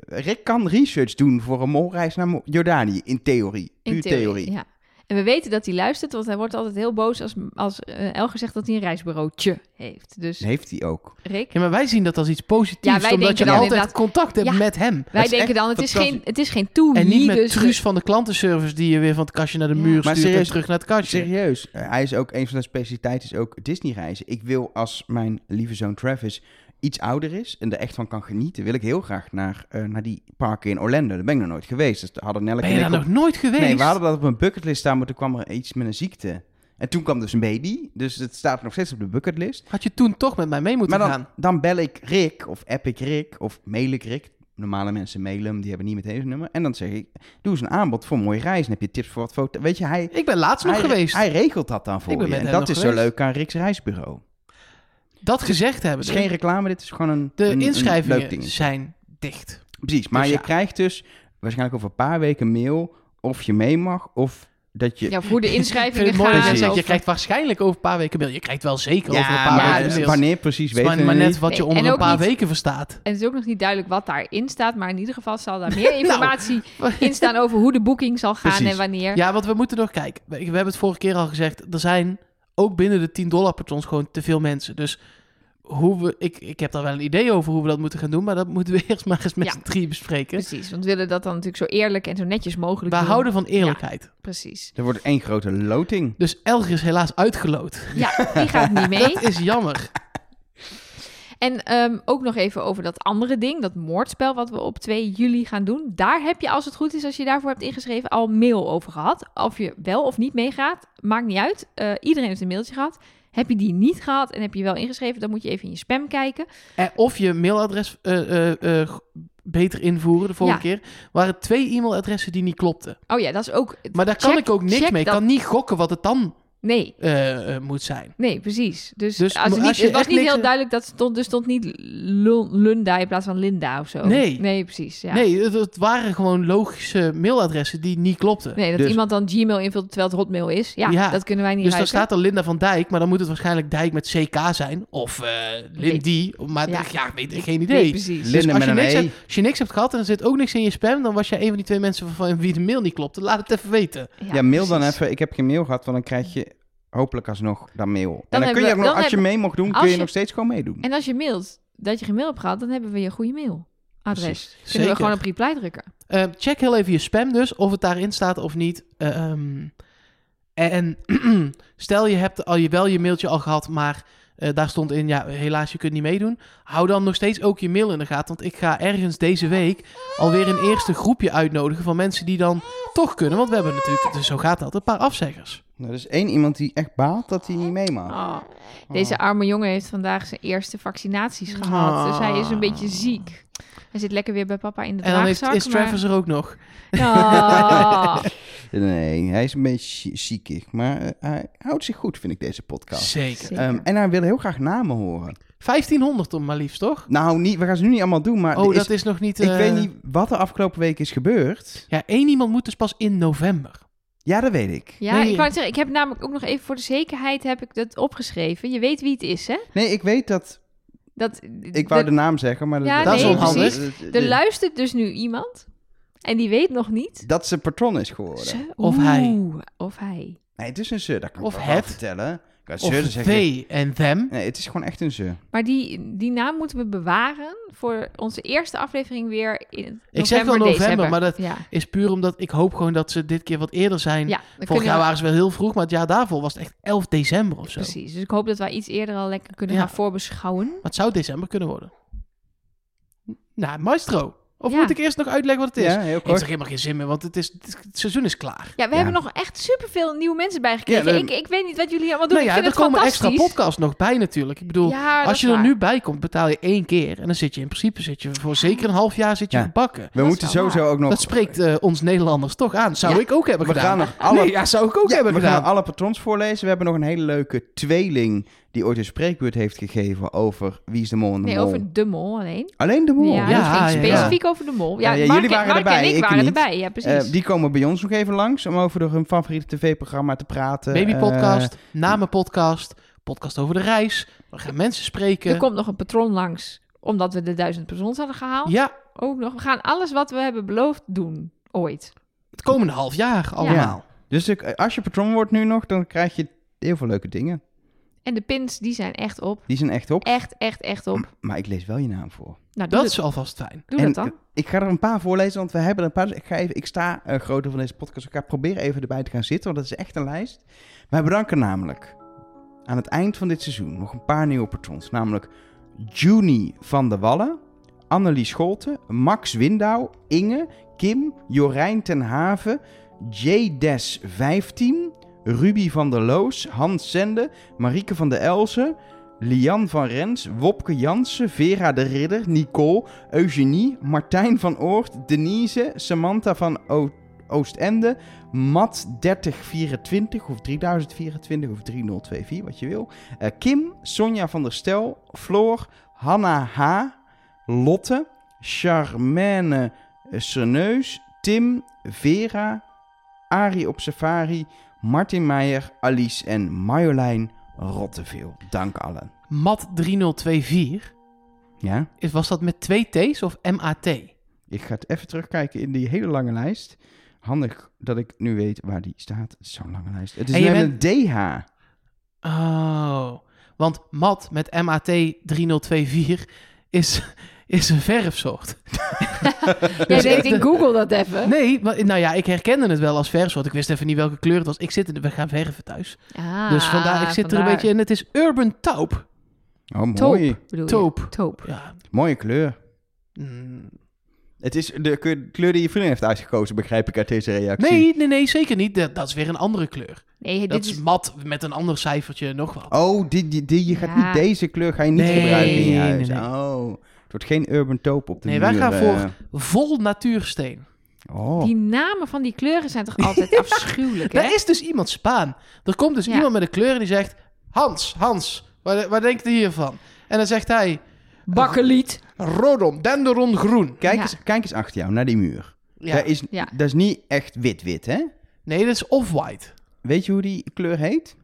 B: Rick kan research doen voor een molreis naar Mo- Jordanië, in theorie.
A: In
B: Puur theorie.
A: Ja. En we weten dat hij luistert, want hij wordt altijd heel boos als, als eh, Elger zegt dat hij een reisbureautje heeft. Dus
B: Heeft hij ook.
A: Rick,
C: Ja, maar wij zien dat als iets positiefs,
A: Ja, wij
C: omdat
A: denken
C: je
A: dan
C: altijd
A: inderdaad-
C: contact hebt
A: Ja.
C: met hem.
A: wij
B: is
A: denken
B: echt
A: dan, het is,
B: fantastisch.
A: geen, het is geen toelie.
C: En niet met
A: dus
C: truus van de klantenservice die je weer van het kastje naar de
A: Ja.
C: muur
B: Maar
C: stuurt en
B: serieus-
C: terug naar het kastje.
B: Serieus. Eh, hij is ook een van de specialiteiten, is ook Disney reizen. Ik wil als mijn lieve zoon Travis iets ouder is en er echt van kan genieten, wil ik heel graag naar, eh, naar die parken in Orlando. Daar ben ik nog nooit geweest. Dus daar hadden Nelleke
C: Ben je
B: en
C: daar
B: ik
C: nog
B: op-
C: nooit geweest?
B: Nee, we hadden dat op een bucketlist staan, maar toen kwam er iets met een ziekte. En toen kwam dus een baby, dus het staat nog steeds op de bucketlist.
C: Had je toen toch met mij mee moeten
B: Maar dan,
C: gaan?
B: dan bel ik Rick, of app ik Rick, of mail ik Rick. Normale mensen mailen hem, die hebben niet meteen zijn nummer. En dan zeg ik, doe eens een aanbod voor een mooie reis. En heb je tips voor wat foto... Weet je, hij,
C: Ik ben laatst nog
B: hij,
C: geweest.
B: Hij regelt dat dan voor
C: Ik ben
B: je.
C: met
B: En
C: hem
B: dat
C: nog
B: is zo
C: geweest.
B: leuk aan Riks Reisbureau.
C: dat gezegd
B: Het
C: hebben.
B: is geen reclame, dit is gewoon een,
C: de
B: een- een leuk
C: inschrijvingen
B: ding.
C: zijn dicht.
B: Precies, maar
C: Dus
B: je
C: ja.
B: krijgt dus waarschijnlijk over een paar weken mail of je mee mag of dat je...
A: Ja, voor de
C: [LAUGHS] Ik vind
A: inschrijvingen
C: het mooi dat
A: gaan.
C: je zegt,
A: of-
C: je krijgt waarschijnlijk over een paar weken mail. Je krijgt wel zeker over een
B: maar
C: paar
A: ja,
C: weken
A: dus
C: mail.
B: wanneer precies
C: Het is
B: weten
C: maar,
B: we
C: maar net
B: niet.
C: wat je
A: Nee,
C: onder
A: en
C: een
A: ook
C: paar
A: niet-
C: weken verstaat.
A: En het is ook nog niet duidelijk wat daarin staat, maar in ieder geval zal daar
C: [LAUGHS] Nou.
A: meer informatie in staan over hoe de boeking zal gaan
B: Precies.
A: en wanneer.
C: Ja, want we moeten nog kijken. We, we hebben het vorige keer al gezegd. Er zijn ook binnen de 10 dollar patrons gewoon te veel mensen. Dus hoe we, ik, ik heb daar wel een idee over hoe we dat moeten gaan doen. Maar dat moeten we [LAUGHS] eerst maar eens met
A: Ja.
C: z'n drie bespreken.
A: Precies, want we willen dat dan natuurlijk zo eerlijk en zo netjes mogelijk
C: we
A: doen.
C: houden van eerlijkheid.
A: Precies.
B: Er wordt één grote loting.
C: Dus Elger is helaas
A: [LAUGHS]
C: uitgeloot.
A: Ja, die gaat
C: [LAUGHS]
A: niet mee.
C: Dat is jammer.
A: En ehm, ook nog even over dat andere ding, dat moordspel wat we op 2 juli gaan doen. Daar heb je, als het goed is, als je daarvoor hebt ingeschreven, al mail over gehad. Of je wel of niet meegaat, maakt niet uit. Eh, iedereen heeft een mailtje gehad. Heb je die niet gehad en heb je wel ingeschreven, dan moet je even in je spam kijken.
C: Eh, of je mailadres eh, eh, eh, g- beter invoeren de vorige
A: Ja.
C: keer. waren twee e-mailadressen die niet klopten.
A: Oh ja, dat is ook...
C: Maar daar kan
A: Check-
C: ik ook niks
A: check
C: mee. Ik
A: dat-
C: kan niet gokken wat het dan
A: Nee,
C: eh, eh, moet zijn.
A: nee, precies. Dus,
C: Dus
A: als
C: mo-
A: het, niet,
C: als je
A: het was
C: echt
A: niet
C: niks-
A: heel duidelijk dat stond, dus stond niet Lun- Lunda in plaats van Linda of zo.
C: Nee.
A: Nee, precies. Ja.
C: Nee, het, het waren gewoon logische mailadressen die niet klopten.
A: Nee, dat
B: Dus-
A: iemand dan Gmail invult terwijl het Hotmail is. Ja,
C: Ja.
A: dat kunnen wij niet
C: Dus dan
A: ruiken.
C: staat er Linda van Dijk, maar dan moet het waarschijnlijk Dijk met CK zijn. Of eh Lindy, maar
A: Ja.
C: ja, ja weet ik geen
A: Nee,
C: idee. Dus
A: precies.
B: Linda
C: als, je
B: met een
C: niks
B: E.
C: hebt, als je niks hebt gehad en er zit ook niks in je spam, dan was jij een van die twee mensen van wie de mail niet klopte. Laat het even weten.
B: Ja, mail dan
A: precies.
B: even. Ik heb geen mail gehad, want dan krijg je hopelijk alsnog dat mail. en dan
A: hebben
B: kun je,
A: we-
B: ook nog,
A: dan
B: als je mee mocht doen,
A: als
B: kun je
A: je-
B: nog steeds gewoon meedoen.
A: En als je mailt dat je geen mail hebt gehad, dan hebben we je goede mailadres.
B: Precies.
A: Kunnen
C: Zeker.
A: we gewoon op reply drukken.
C: Eh, check heel even je spam dus, of het daarin staat of niet. Eh, ehm, en [CLEARS THROAT] stel je hebt al je, wel je mailtje al gehad, maar eh, daar stond in, ja, helaas, je kunt niet meedoen. Hou dan nog steeds ook je mail in de gaten, want ik ga ergens deze week alweer een eerste groepje uitnodigen van mensen die dan toch kunnen. Want we hebben natuurlijk, dus zo gaat dat, een paar afzeggers.
B: Nou, er is één iemand die echt baalt dat hij niet mee mag.
A: Oh, Deze arme jongen heeft vandaag zijn eerste vaccinaties gehad. Dus hij is een beetje ziek. Hij zit lekker weer bij papa in de
C: En dan heeft,
A: draagzak.
C: is
A: maar- Oh.
C: Travis er ook nog. [LAUGHS]
A: Ja.
B: Nee, hij is een beetje zie- ziekig, maar eh, hij houdt zich goed, vind ik, deze podcast.
C: Zeker.
B: Ehm, en hij wil heel graag namen horen.
C: 1500 om maar liefst, toch?
B: Nou, niet, we gaan ze nu niet allemaal doen, maar
C: oh,
B: er is-
C: dat is nog niet...
B: ik
C: eh,
B: weet niet wat er afgelopen week is gebeurd.
C: Ja, één iemand moet dus pas in november.
B: Ja, dat weet ik.
A: ja,
C: Ehm, Nee.
A: ik wou het zeggen, ik heb namelijk ook nog even voor de zekerheid heb ik dat opgeschreven. Je weet wie het is, hè?
B: Nee, ik weet dat...
A: Dat,
B: Ik wou
A: dat-
B: de naam zeggen, maar
A: Ja,
C: Dat is nee, onhandig.
B: Dat- dat-
A: er luistert dus nu iemand en die weet nog niet.
B: Dat ze patron is geworden.
A: Ze-
C: Of hij.
A: Oeh, Of hij.
B: Nee, het is een ze, dat kan
C: Of
B: ik wel
C: het.
B: vertellen. Ik kan ze
C: Of
B: dan zeg ik-
C: they en them.
B: Nee, het is gewoon echt een ze.
A: Maar die, die naam moeten we bewaren voor onze eerste aflevering weer in november,
C: zeg wel november,
A: december.
C: maar dat-
A: Ja,
C: Is puur omdat ik hoop gewoon dat ze dit keer wat eerder zijn.
A: ja dan
C: Vorig
A: kunnen
C: jaar
A: we-
C: waren ze wel heel vroeg, maar het jaar daarvoor was het echt 11 december of zo.
A: Precies, dus ik hoop dat wij iets eerder al lekker kunnen
C: Ja.
A: gaan voorbeschouwen.
C: Maar het zou december kunnen worden. Nou, maestro. Of
A: Ja.
C: moet ik eerst nog uitleggen wat het is?
B: Ja, heel
C: Heeft
B: kort.
C: er helemaal geen zin meer, want het, is, het, het seizoen is klaar.
A: Ja, we
B: Ja.
A: hebben nog echt superveel nieuwe mensen bijgekregen.
B: Ja, we-
A: ik, ik weet niet wat jullie allemaal doen.
C: nou
A: ik
C: ja, er
A: vind het
C: komen extra
A: fantastisch.
C: podcasts nog bij natuurlijk. Ik bedoel,
A: Ja, dat
C: als
A: is
C: je er
A: waar.
C: nu bij komt, betaal je één keer. En dan zit je in principe zit je voor zeker een half jaar zit je
B: Ja.
C: gebakken.
B: We
A: is
B: moeten
A: wel waar.
B: sowieso ook nog...
C: Dat spreekt eh, ons Nederlanders toch aan. Zou
A: Ja.
C: ik ook hebben
B: we
C: gedaan.
B: gaan nog alle...
C: Nee, ja, zou ik ook
B: Ja,
C: hebben
B: we
C: gedaan.
B: gaan alle patrons voorlezen. We hebben nog een hele leuke tweeling die ooit een spreekbeurt heeft gegeven over wie is de mol en de
A: Nee,
B: mol.
A: over de mol alleen.
B: Alleen de mol.
A: Ja,
C: Ja,
A: dat ging
C: ja, ja.
A: specifiek over de mol. Ja,
B: Ja, ja,
A: Mark,
B: jullie waren
A: Mark
B: erbij,
A: en ik,
B: ik
A: waren
B: niet.
A: erbij. Ja, precies.
B: Eh, die komen bij ons nog even langs om over hun favoriete tv-programma te praten.
C: Babypodcast,
B: Eh,
C: namenpodcast, podcast over de reis. We gaan mensen
A: Er
C: spreken.
A: komt nog een patron langs, omdat we de duizend patrons hadden gehaald.
C: Ja,
A: Ook nog. We gaan alles wat we hebben beloofd doen, ooit.
C: het komende half jaar allemaal.
B: dus ik- als je patron wordt nu nog, dan krijg je heel veel leuke dingen.
A: En de pins, die zijn echt op.
B: Die zijn echt op.
A: Echt, echt, echt op.
B: Maar ik lees wel je naam voor.
A: Nou, doe
C: Mm. Dat
A: dat,
C: is alvast fijn.
A: doe
B: en
A: dat dan.
B: Ik ga er een paar voorlezen, want we hebben er een paar. Dus ik, ga even, ik sta eh groter van deze podcast. Ik ga proberen even erbij te gaan zitten, want dat is echt een lijst. Wij bedanken namelijk aan het eind van dit seizoen nog een paar nieuwe patrons. Namelijk Juni van der Wallen, Annelie Scholten, Max Windouw, Inge, Kim, Jorijn ten Haven, Des 15, Ruby van der Loos, Hans Zende, Marieke van der Elzen, Lian van Rens, Wopke Jansen, Vera de Ridder, Nicole, Eugenie, Martijn van Oort, Denise, Samantha van O- Oostende, Mat 3024 of 3024 of 3024, wat je wil. Eh, Kim, Sonja van der Stel, Floor, Hanna H, Lotte, Charmaine eh, Serneus, Tim, Vera, Ari op Safari, Martin Meijer, Alice en Marjolein Rotteveel. Dank allen.
C: Mat 3024,
B: Ja?
C: is- was dat met twee T's of MAT?
B: Ik ga het even terugkijken in die hele lange lijst. Handig dat ik nu weet waar die staat. Het is Zo'n lange lijst. Het is
C: En je
B: namelijk een DH.
C: Oh, want mat met MAT 3024 is, is een verfsoort.
A: Jij
C: Dus
A: denkt,
C: echt,
A: ik google dat even.
C: Nee, maar, nou ja, ik herkende het wel als verfsoort. Ik wist even niet welke kleur het was. Ik zit in de, we gaan verven thuis.
A: Ah,
C: dus vandaar, ik zit er een beetje in. Het is Urban Taupe.
B: Oh,
A: Taupe,
B: mooi.
A: bedoel je?
C: Taupe.
A: Taupe.
C: Ja.
B: Mooie kleur.
C: mm,
B: Het is de ke- kleur die je vriendin heeft uitgekozen, begrijp ik uit deze reactie.
C: Nee, nee, nee, zeker niet. Dat, dat is weer een andere kleur.
A: Nee,
C: Dat
A: dit
C: is,
A: is...
C: mat met een ander cijfertje en nog wat.
B: Oh, die, die, die, je gaat
A: Ja.
B: niet deze kleur ga je niet
C: Nee,
B: gebruiken in je
C: nee,
B: huis.
C: nee.
B: Oh, het wordt geen urban taupe op de
C: Nee, wij gaan
B: muren.
C: Vol natuursteen.
B: Oh.
A: Die namen van die kleuren zijn toch
C: [LAUGHS]
A: altijd afschuwelijk, hè?
C: Daar is dus iemand Spaan. Er komt dus
A: Ja.
C: iemand met een kleur en die zegt... Hans, Hans, wat, wat denkt u hiervan? En dan zegt hij...
A: Bakkeliet.
C: Rodom, denderon groen.
B: Kijk,
A: Ja.
B: eens, kijk eens achter jou, naar die muur.
C: Ja.
B: Dat, is,
A: Ja.
B: dat is niet echt wit-wit, hè?
C: Nee, dat is off-white.
B: Weet je hoe die kleur heet?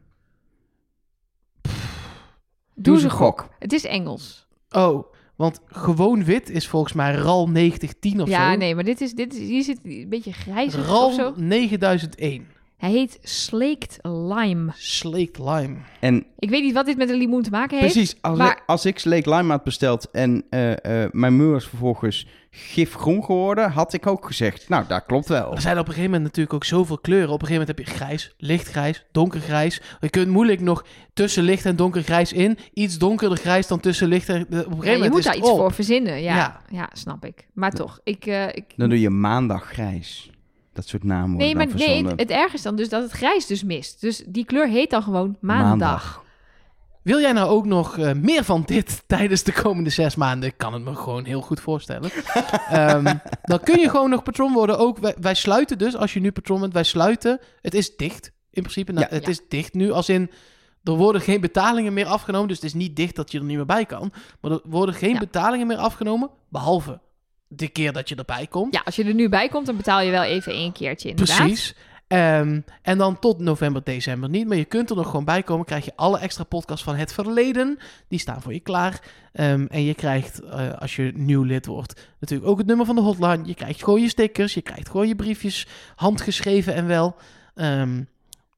A: Doe ze gok.
B: gok.
A: Het is Engels.
C: Oh, want gewoon wit is volgens mij RAL 9010 of
A: ja,
C: zo.
A: nee, maar dit is, dit is, hier zit een beetje grijs
C: RAL
A: of zo.
C: 9001.
A: Hij heet Slaked Lime.
C: Slaked lime.
B: En
A: Ik weet niet wat dit met een limoen te maken heeft.
B: precies, als,
A: maar-
B: ik, als ik Sleek Lime had besteld en eh, eh, mijn muur is vervolgens gifgroen geworden, had ik ook gezegd, nou, dat klopt wel.
C: Er zijn op een gegeven moment natuurlijk ook zoveel kleuren. Op een gegeven moment heb je grijs, lichtgrijs, donkergrijs. Je kunt moeilijk nog tussen licht en donkergrijs in. Iets donkerder grijs dan tussen licht en... Op een gegeven
A: Ja, je
C: moment
A: moet
C: is
A: daar
C: het
A: iets
C: op.
A: voor verzinnen. Ja.
C: Ja.
A: Ja. snap ik. Maar toch, ik... eh, ik
B: Dan doe je maandag grijs. Dat soort namen worden
C: nou
A: nee, maar
B: dan
A: nee,
B: verzonnen.
A: het erg is dan dus dat het grijs dus mist. Dus die kleur heet dan gewoon maandag.
C: Wil jij nou ook nog eh, meer van dit [LAUGHS] tijdens de komende zes maanden? Ik kan het me gewoon heel goed
A: [LAUGHS]
C: voorstellen. Ehm, dan kun je gewoon nog patron worden. Ook wij, wij sluiten dus, als je nu patron bent, wij sluiten. Het is dicht, in principe. Nou,
B: Ja.
C: het
A: Ja.
C: is dicht nu, als in... Er worden geen betalingen meer afgenomen, dus het is niet dicht dat je er niet meer bij kan. Maar er worden geen
A: Ja.
C: betalingen meer afgenomen, behalve de keer dat je erbij komt.
A: Ja, als je er nu bij komt, dan betaal je wel even één keertje inderdaad.
C: Precies. Ehm, en dan tot november, december niet. Maar je kunt er nog gewoon bij komen. Krijg je alle extra podcasts van het verleden. Die staan voor je klaar. Ehm, en je krijgt, eh, als je nieuw lid wordt, natuurlijk ook het nummer van de hotline. Je krijgt gewoon je stickers. Je krijgt gewoon je briefjes. Handgeschreven en wel. Ehm,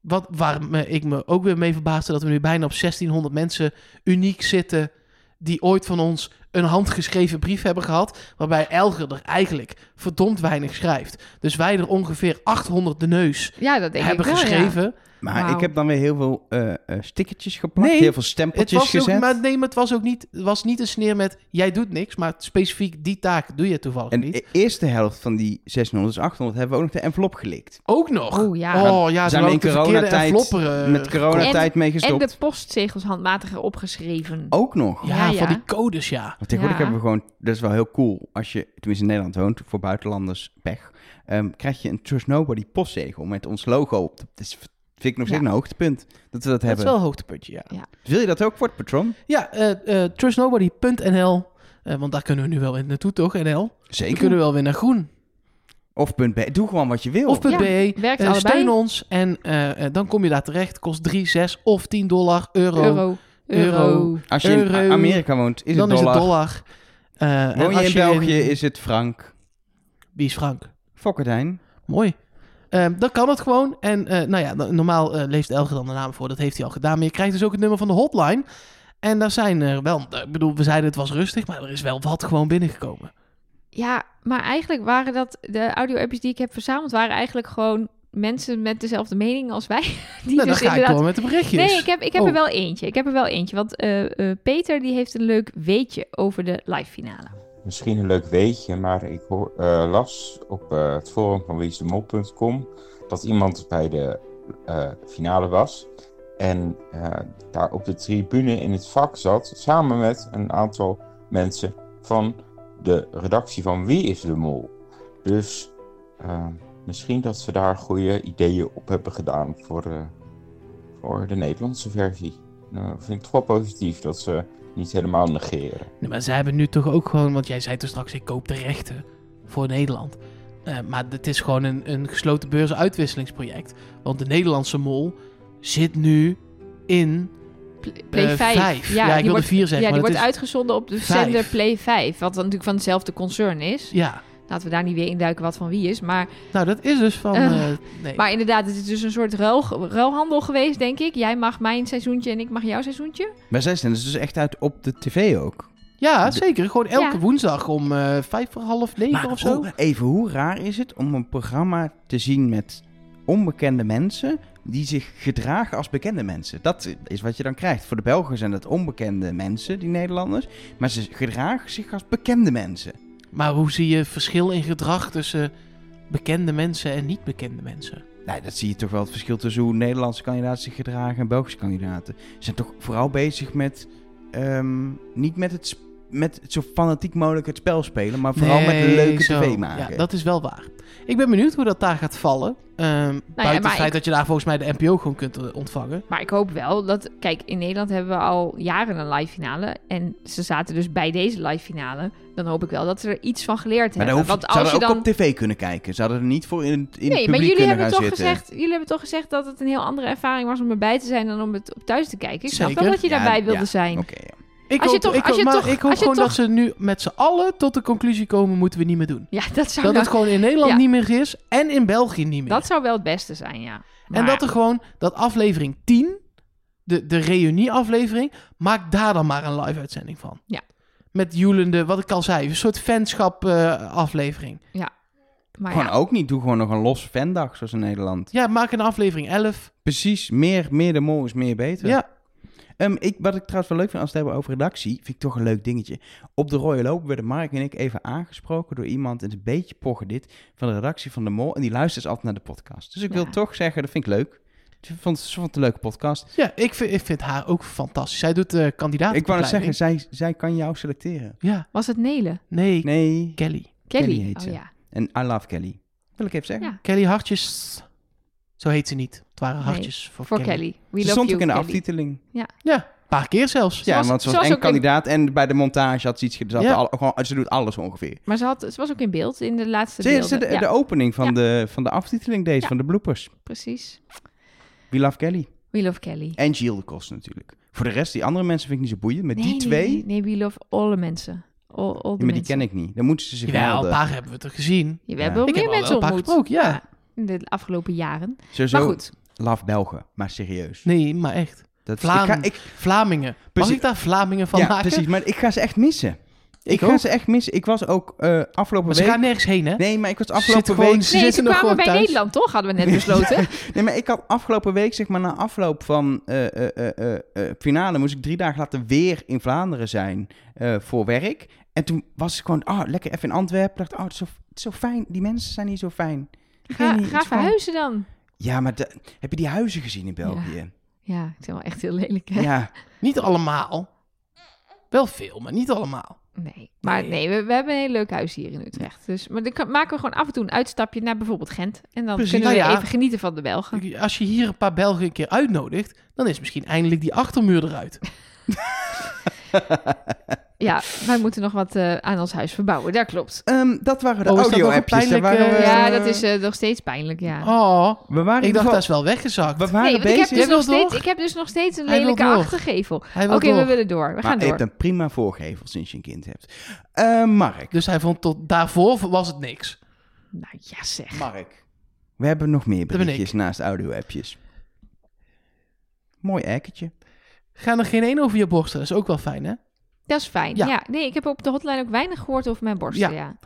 C: wat, waar me, ik me ook weer mee verbaasde, dat we nu bijna op 1600 mensen uniek zitten. die ooit van ons een handgeschreven brief hebben gehad. Waarbij Elger er eigenlijk verdomd weinig schrijft. Dus wij er ongeveer 800 de neus
A: Ja, dat denk
C: hebben
A: ik wel, ja.
C: geschreven.
B: Maar
A: Wauw.
B: ik heb dan weer heel veel eh eh, stickertjes geplakt,
C: Nee,
B: heel veel
C: Het
B: stempeltjes
C: was ook,
B: gezet.
C: maar nee, maar het was ook niet, het was niet een sneer met jij doet niks, maar specifiek die taak doe je toevallig
B: En
C: niet.
B: de eerste helft van die 600, dus 800 hebben we ook nog de envelop gelikt.
C: ook nog.
A: Oh, ja.
C: Oh ja,
B: We
C: ze
B: zijn
C: hebben
B: in
C: ook de verkeerde
B: coronatijd
C: enveloppen, eh,
B: Met coronatijd mee
A: En
B: gestopt.
A: de postzegels handmatig opgeschreven.
C: Oh,
B: Ook nog.
C: Ja,
A: Ja, ja.
C: van die codes, ja.
B: Want tegenwoordig
A: Ja.
B: hebben we gewoon, dat is wel heel cool. Als je, tenminste in Nederland woont, voor buitenlanders pech, ehm, krijg je een Trust Nobody postzegel met ons logo op. Dat is, vind ik nog steeds
A: Ja.
B: een hoogtepunt dat we dat,
C: Dat is
B: hebben.
C: wel een hoogtepuntje, ja.
B: Wil je dat ook voor het patron?
C: Ja, eh, eh, trustnobody.nl, eh, want daar kunnen we nu wel in naartoe, toch, NL? Dan
B: Zeker.
C: kunnen we wel weer naar groen.
B: Of punt B. Doe gewoon wat je wil.
C: Of
A: Ja,
C: .be.
A: werkt
C: Eh,
A: allebei.
C: steun ons en eh, eh, dan kom je daar terecht. Kost 3, 6 of 10 dollar, euro.
A: Euro. Euro.
C: Euro.
B: Als je in
C: Euro.
B: A- Amerika woont, is
C: dan
B: het dollar.
C: is het dollar. Eh, en
B: Woon je
C: als
B: in België, is het frank.
C: Wie is Frank?
B: Fokkerdijn.
C: Mooi. Ehm, dan kan het gewoon. En eh, nou ja, no- normaal eh, leest Elger dan de naam voor. Dat heeft hij al gedaan. Maar je krijgt dus ook het nummer van de hotline. En daar zijn er wel... Ik bedoel, we zeiden het was rustig, maar er is wel wat gewoon binnengekomen.
A: Ja, maar eigenlijk waren dat de audio-appjes die ik heb verzameld, waren eigenlijk gewoon mensen met dezelfde mening als wij. [LAUGHS] Die
C: nou, dan
A: dus
C: ga ik
A: inderdaad.
C: door met de berichtjes.
A: Nee, ik heb, ik heb
C: Oh.
A: er wel eentje. Ik heb er wel eentje. Want eh, eh, Peter die heeft een leuk weetje over de live finale.
D: Misschien een leuk weetje, maar ik hoor, eh, las op eh, het forum van wieisdemol.com dat iemand bij de eh, finale was. En eh, daar op de tribune in het vak zat, samen met een aantal mensen van de redactie van Wie is de Mol. Dus eh, misschien dat ze daar goede ideeën op hebben gedaan voor, eh, voor de Nederlandse versie. Nou, ik vind het wel positief dat ze niet helemaal negeren.
C: Nee, maar ze hebben nu toch ook gewoon... Want jij zei toen straks, ik koop de rechten voor Nederland. Eh, maar het is gewoon een, een gesloten beursuitwisselingsproject. Want de Nederlandse mol zit nu in
A: Pl- Play
C: eh
A: 5.
C: Ja, ik
A: die
C: wilde
A: wordt,
C: 4 zeggen.
A: ja, die
C: maar
A: wordt
C: dat is-
A: uitgezonden op de
C: vijf.
A: zender Play 5. Wat dan natuurlijk van hetzelfde concern is.
C: Ja,
A: Laten we daar niet weer induiken wat van wie is. Maar
C: nou dat is dus van...
A: Eh,
C: eh, nee.
A: Maar inderdaad, het is dus een soort ruil, ruilhandel geweest, denk ik. Jij mag mijn seizoentje en ik mag jouw seizoentje.
B: Maar zij zijn dus dus echt uit op de tv ook.
C: Ja,
B: De-
C: zeker. Gewoon elke
A: Ja.
C: woensdag om eh, vijf voor half negen
B: Maar
C: of zo.
B: hoe- even, hoe raar is het om een programma te zien met onbekende mensen die zich gedragen als bekende mensen? Dat is wat je dan krijgt. Voor de Belgen zijn dat onbekende mensen, die Nederlanders. Maar ze gedragen zich als bekende mensen.
C: Maar hoe zie je verschil in gedrag tussen bekende mensen en niet bekende mensen?
B: Nee, dat zie je toch wel het verschil tussen hoe Nederlandse kandidaten zich gedragen en Belgische kandidaten. Ze zijn toch vooral bezig met. ehm, niet met het, sp- met zo fanatiek mogelijk het spel spelen, maar vooral met
C: Nee,
B: leuke
C: zo.
B: tv maken.
C: Ja, dat is wel waar. Ik ben benieuwd hoe dat daar gaat vallen. Ehm buiten het
A: Nou maar
C: feit
A: ik-
C: dat je daar volgens mij de NPO gewoon kunt eh, ontvangen.
A: Maar ik hoop wel dat... Kijk, in Nederland hebben we al jaren een live finale. En ze zaten dus bij deze live finale. Dan hoop ik wel dat ze er iets van geleerd hebben.
B: maar dan hoef,
A: Want
B: ze hadden
A: als je
B: ook
A: dan...
B: op tv kunnen kijken. Ze hadden er niet voor in, het- in het
A: nee, maar
B: publiek
A: jullie
B: kunnen
A: hebben,
B: gaan
A: toch
B: zitten.
A: gezegd, jullie hebben toch gezegd dat het een heel andere ervaring was om erbij te zijn dan om het op thuis te kijken. Ik snap wel
C: Zeker.
A: dat je
B: Ja,
A: daarbij wilde
B: ja.
A: zijn.
B: Oké, ja.
C: Ik
A: Als je
C: hoop,
A: toch-
C: ik
A: als
C: hoop-
A: je
C: maar
A: toch-
C: ik hoop
A: als je
C: gewoon dat
A: toch-
C: ze nu met z'n allen tot de conclusie komen... moeten we niet meer doen.
A: Ja, [LAUGHS] Nou, dat zou,
C: Dat
A: wel,
C: het gewoon in Nederland
A: Ja.
C: niet meer is en in België niet meer.
A: dat zou wel het beste zijn, ja. Maar,
C: En dat er gewoon, dat aflevering 10, de, de reunie-aflevering, maak daar dan maar een live-uitzending van.
A: Ja.
C: Met joelende, wat ik al zei, een soort eh, fanschap-aflevering.
A: maar
B: Gewoon
A: ja.
B: ook niet. Doe gewoon nog een los fandag, zoals in Nederland.
C: ja, maak een aflevering 11.
B: Precies, meer, meer de mol is meer beter.
C: Ja,
B: Ehm, ik, wat ik trouwens wel leuk vind als we het hebben over redactie, vind ik toch een leuk dingetje. Op de Rode Lopen werden Mark en ik even aangesproken door iemand, en het is een beetje pochen dit, van de redactie van De Mol. En die luistert dus altijd naar de podcast. Dus ik wil
A: Ja.
B: toch zeggen, dat vind ik leuk. Ze vond, ze vond het een leuke podcast.
C: ja ik, vind, ik vind haar ook fantastisch. Zij doet de kandidaat.
B: ik wou net zeggen, zij, zij kan jou selecteren.
C: Ja,
A: Was het Nelen?
C: nee,
B: Nee.
C: Kelly.
A: Kelly.
B: Kelly heet
A: oh
B: ze.
A: ja.
B: En I love Kelly. Wil ik even zeggen.
A: Ja,
C: Kelly Hartjes. Zo heet ze niet. Het waren
A: Nee,
C: hartjes voor,
A: Voor Kelly.
C: Kelly.
A: We
B: ze
A: love
B: stond
A: you,
B: ook in de
A: Kelly.
B: aftiteling.
C: Ja, een paar keer zelfs.
B: Ja,
A: was-
B: want ze
A: ze
B: was
A: was
B: en
A: ook in-
B: kandidaat en bij de montage had ze iets gezegd.
C: Ja.
B: ze doet alles ongeveer.
A: Maar ze, had, ze was ook in beeld in de laatste
B: Ze is
A: beelden.
B: de, de
A: ja,
B: opening van,
A: Ja.
B: de, van de aftiteling deze,
A: Ja.
B: van de bloopers.
A: precies.
B: We love Kelly.
A: We love Kelly.
B: En Gilles de Kost natuurlijk. Voor de rest, die andere mensen vind ik niet zo boeiend. Maar
A: Nee,
B: Eh, die
A: nee,
B: twee,
A: Nee, nee, we love alle mensen. All, all
B: ja, maar die ken ik niet. Dan moeten ze zich
C: Jawel, een
B: melden.
C: paar hebben we toch gezien.
A: We
B: Ja.
A: hebben wel
C: Ik
A: meer
C: heb al wel
A: mensen
C: een paar
A: ontmoet
C: gesproken, ja.
A: in de afgelopen jaren.
B: Sowieso,
A: Maar goed,
B: love Belgen, maar serieus.
C: Nee, maar echt.
B: Dat, ik
C: Vlaam.
B: ga, ik,
C: Vlamingen. Mag
B: Precies.
C: ik daar Vlamingen van
B: ja,
C: maken?
B: precies. Maar ik ga ze echt missen. Ik,
C: Ik
B: ga
C: ook.
B: ze echt missen. Ik was ook eh, afgelopen
C: Maar ze
B: week...
C: gaan nergens heen, hè?
B: Nee, maar ik was
C: Ze zitten
B: afgelopen
C: gewoon-
B: week...
C: ze
A: nee,
C: zitten
A: ze
C: nog
A: kwamen bij
C: gewoon thuis.
A: Nederland, toch? Hadden we net besloten.
B: Nee, maar [LAUGHS] ik had afgelopen week, zeg maar, na afloop van eh eh, eh, eh, eh, finale, moest ik drie dagen later weer in Vlaanderen zijn eh, voor werk. En toen was ik gewoon, ah, lekker even in Antwerpen. Dacht, oh, het is, zo, het is zo fijn. Die mensen zijn hier zo fijn. Ik weet
A: Ga,
B: niet, het
A: ga
B: is gewoon-
A: verhuizen dan.
B: Ja, maar de- heb je die huizen gezien in België?
A: Ja, ik vind wel echt heel lelijk,
B: Ja.
A: hè?
C: Niet allemaal. Wel veel, maar niet allemaal.
A: Nee, maar
C: Nee.
A: nee, we, we hebben een heel leuk huis hier in Utrecht. Dus, maar dan kan- maken we gewoon af en toe een uitstapje naar bijvoorbeeld Gent. En dan
C: Precies,
A: kunnen we
C: nou ja.
A: even genieten van de Belgen.
C: Als je hier een paar Belgen een keer uitnodigt, dan is misschien eindelijk die achtermuur eruit.
A: Ja, wij moeten nog wat eh, aan ons huis verbouwen, dat klopt.
B: Ehm, dat waren de
C: Oh, is dat
B: audio-appjes.
C: nog
B: Daar
C: een
B: waren
C: pijnlijke-
B: we-
A: Ja, dat is eh, nog steeds pijnlijk, ja.
C: Oh,
B: We waren in ieder
C: ik dacht
B: geval-
C: dat is wel weggezakt.
B: we waren
A: nee, want ik
B: bezig.
A: heb, dus
C: Jij
A: nog
C: wil
A: steeds,
C: door?
A: ik heb dus nog steeds een
C: Hij wil
A: lelijke
C: door.
A: achtergevel.
C: Hij
A: Oké,
C: wil
A: we
C: door.
A: willen door. We gaan
B: Maar je
A: door.
B: hebt een prima voorgevel sinds je een kind hebt. Eh, Mark.
C: Dus hij vond tot daarvoor was het niks.
A: Nou ja, zeg.
B: Mark. We hebben nog meer
C: ben ik.
B: berichtjes naast audio-appjes. Mooi ekketje.
C: Gaan er geen één over je borsten, dat is ook wel fijn, hè?
A: Dat is fijn.
C: Ja.
A: Ja. nee, ik heb op de hotline ook weinig gehoord over mijn borsten,
C: Ja.
A: ja.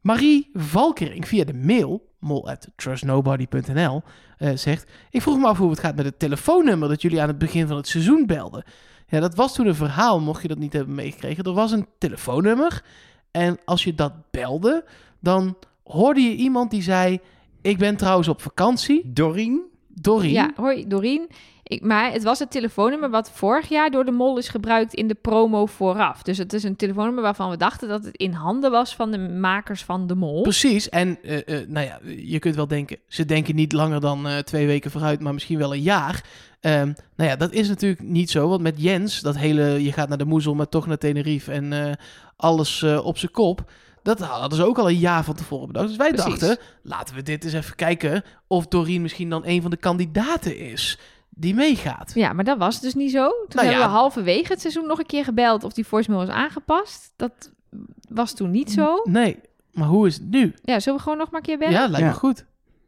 C: Marie Valkering via de mail, mol at trustnobody.nl, eh, zegt... Ik vroeg me af hoe het gaat met het telefoonnummer dat jullie aan het begin van het seizoen belden. Ja, dat was toen een verhaal, mocht je dat niet hebben meegekregen. Er was een telefoonnummer en als je dat belde, dan hoorde je iemand die zei... Ik ben trouwens op vakantie,
B: Dorien?
C: Dorien.
A: Ja, hoi Dorien. Ik, maar het was het telefoonnummer wat vorig jaar door de mol is gebruikt in de promo vooraf. Dus het is een telefoonnummer waarvan we dachten dat het in handen was van de makers van de mol.
C: Precies, en eh, eh, nou ja, je kunt wel denken, ze denken niet langer dan eh, twee weken vooruit, maar misschien wel een jaar. Ehm, nou ja, dat is natuurlijk niet zo, want met Jens, dat hele je gaat naar de moezel, maar toch naar Tenerife en eh, alles eh, op zijn kop, dat hadden ze ook al een jaar van tevoren bedacht. Dus wij
A: Precies.
C: dachten, laten we dit eens even kijken of Doreen misschien dan een van de kandidaten is die meegaat.
A: Ja, maar dat was dus niet zo. Toen
C: Nou
A: hebben
C: ja.
A: we halverwege het seizoen nog een keer gebeld of die voicemail was aangepast. Dat was toen niet zo.
C: Nee, maar hoe is het nu?
A: Ja, zullen we gewoon nog maar een keer bellen?
C: Ja, lijkt
B: Ja.
C: me goed.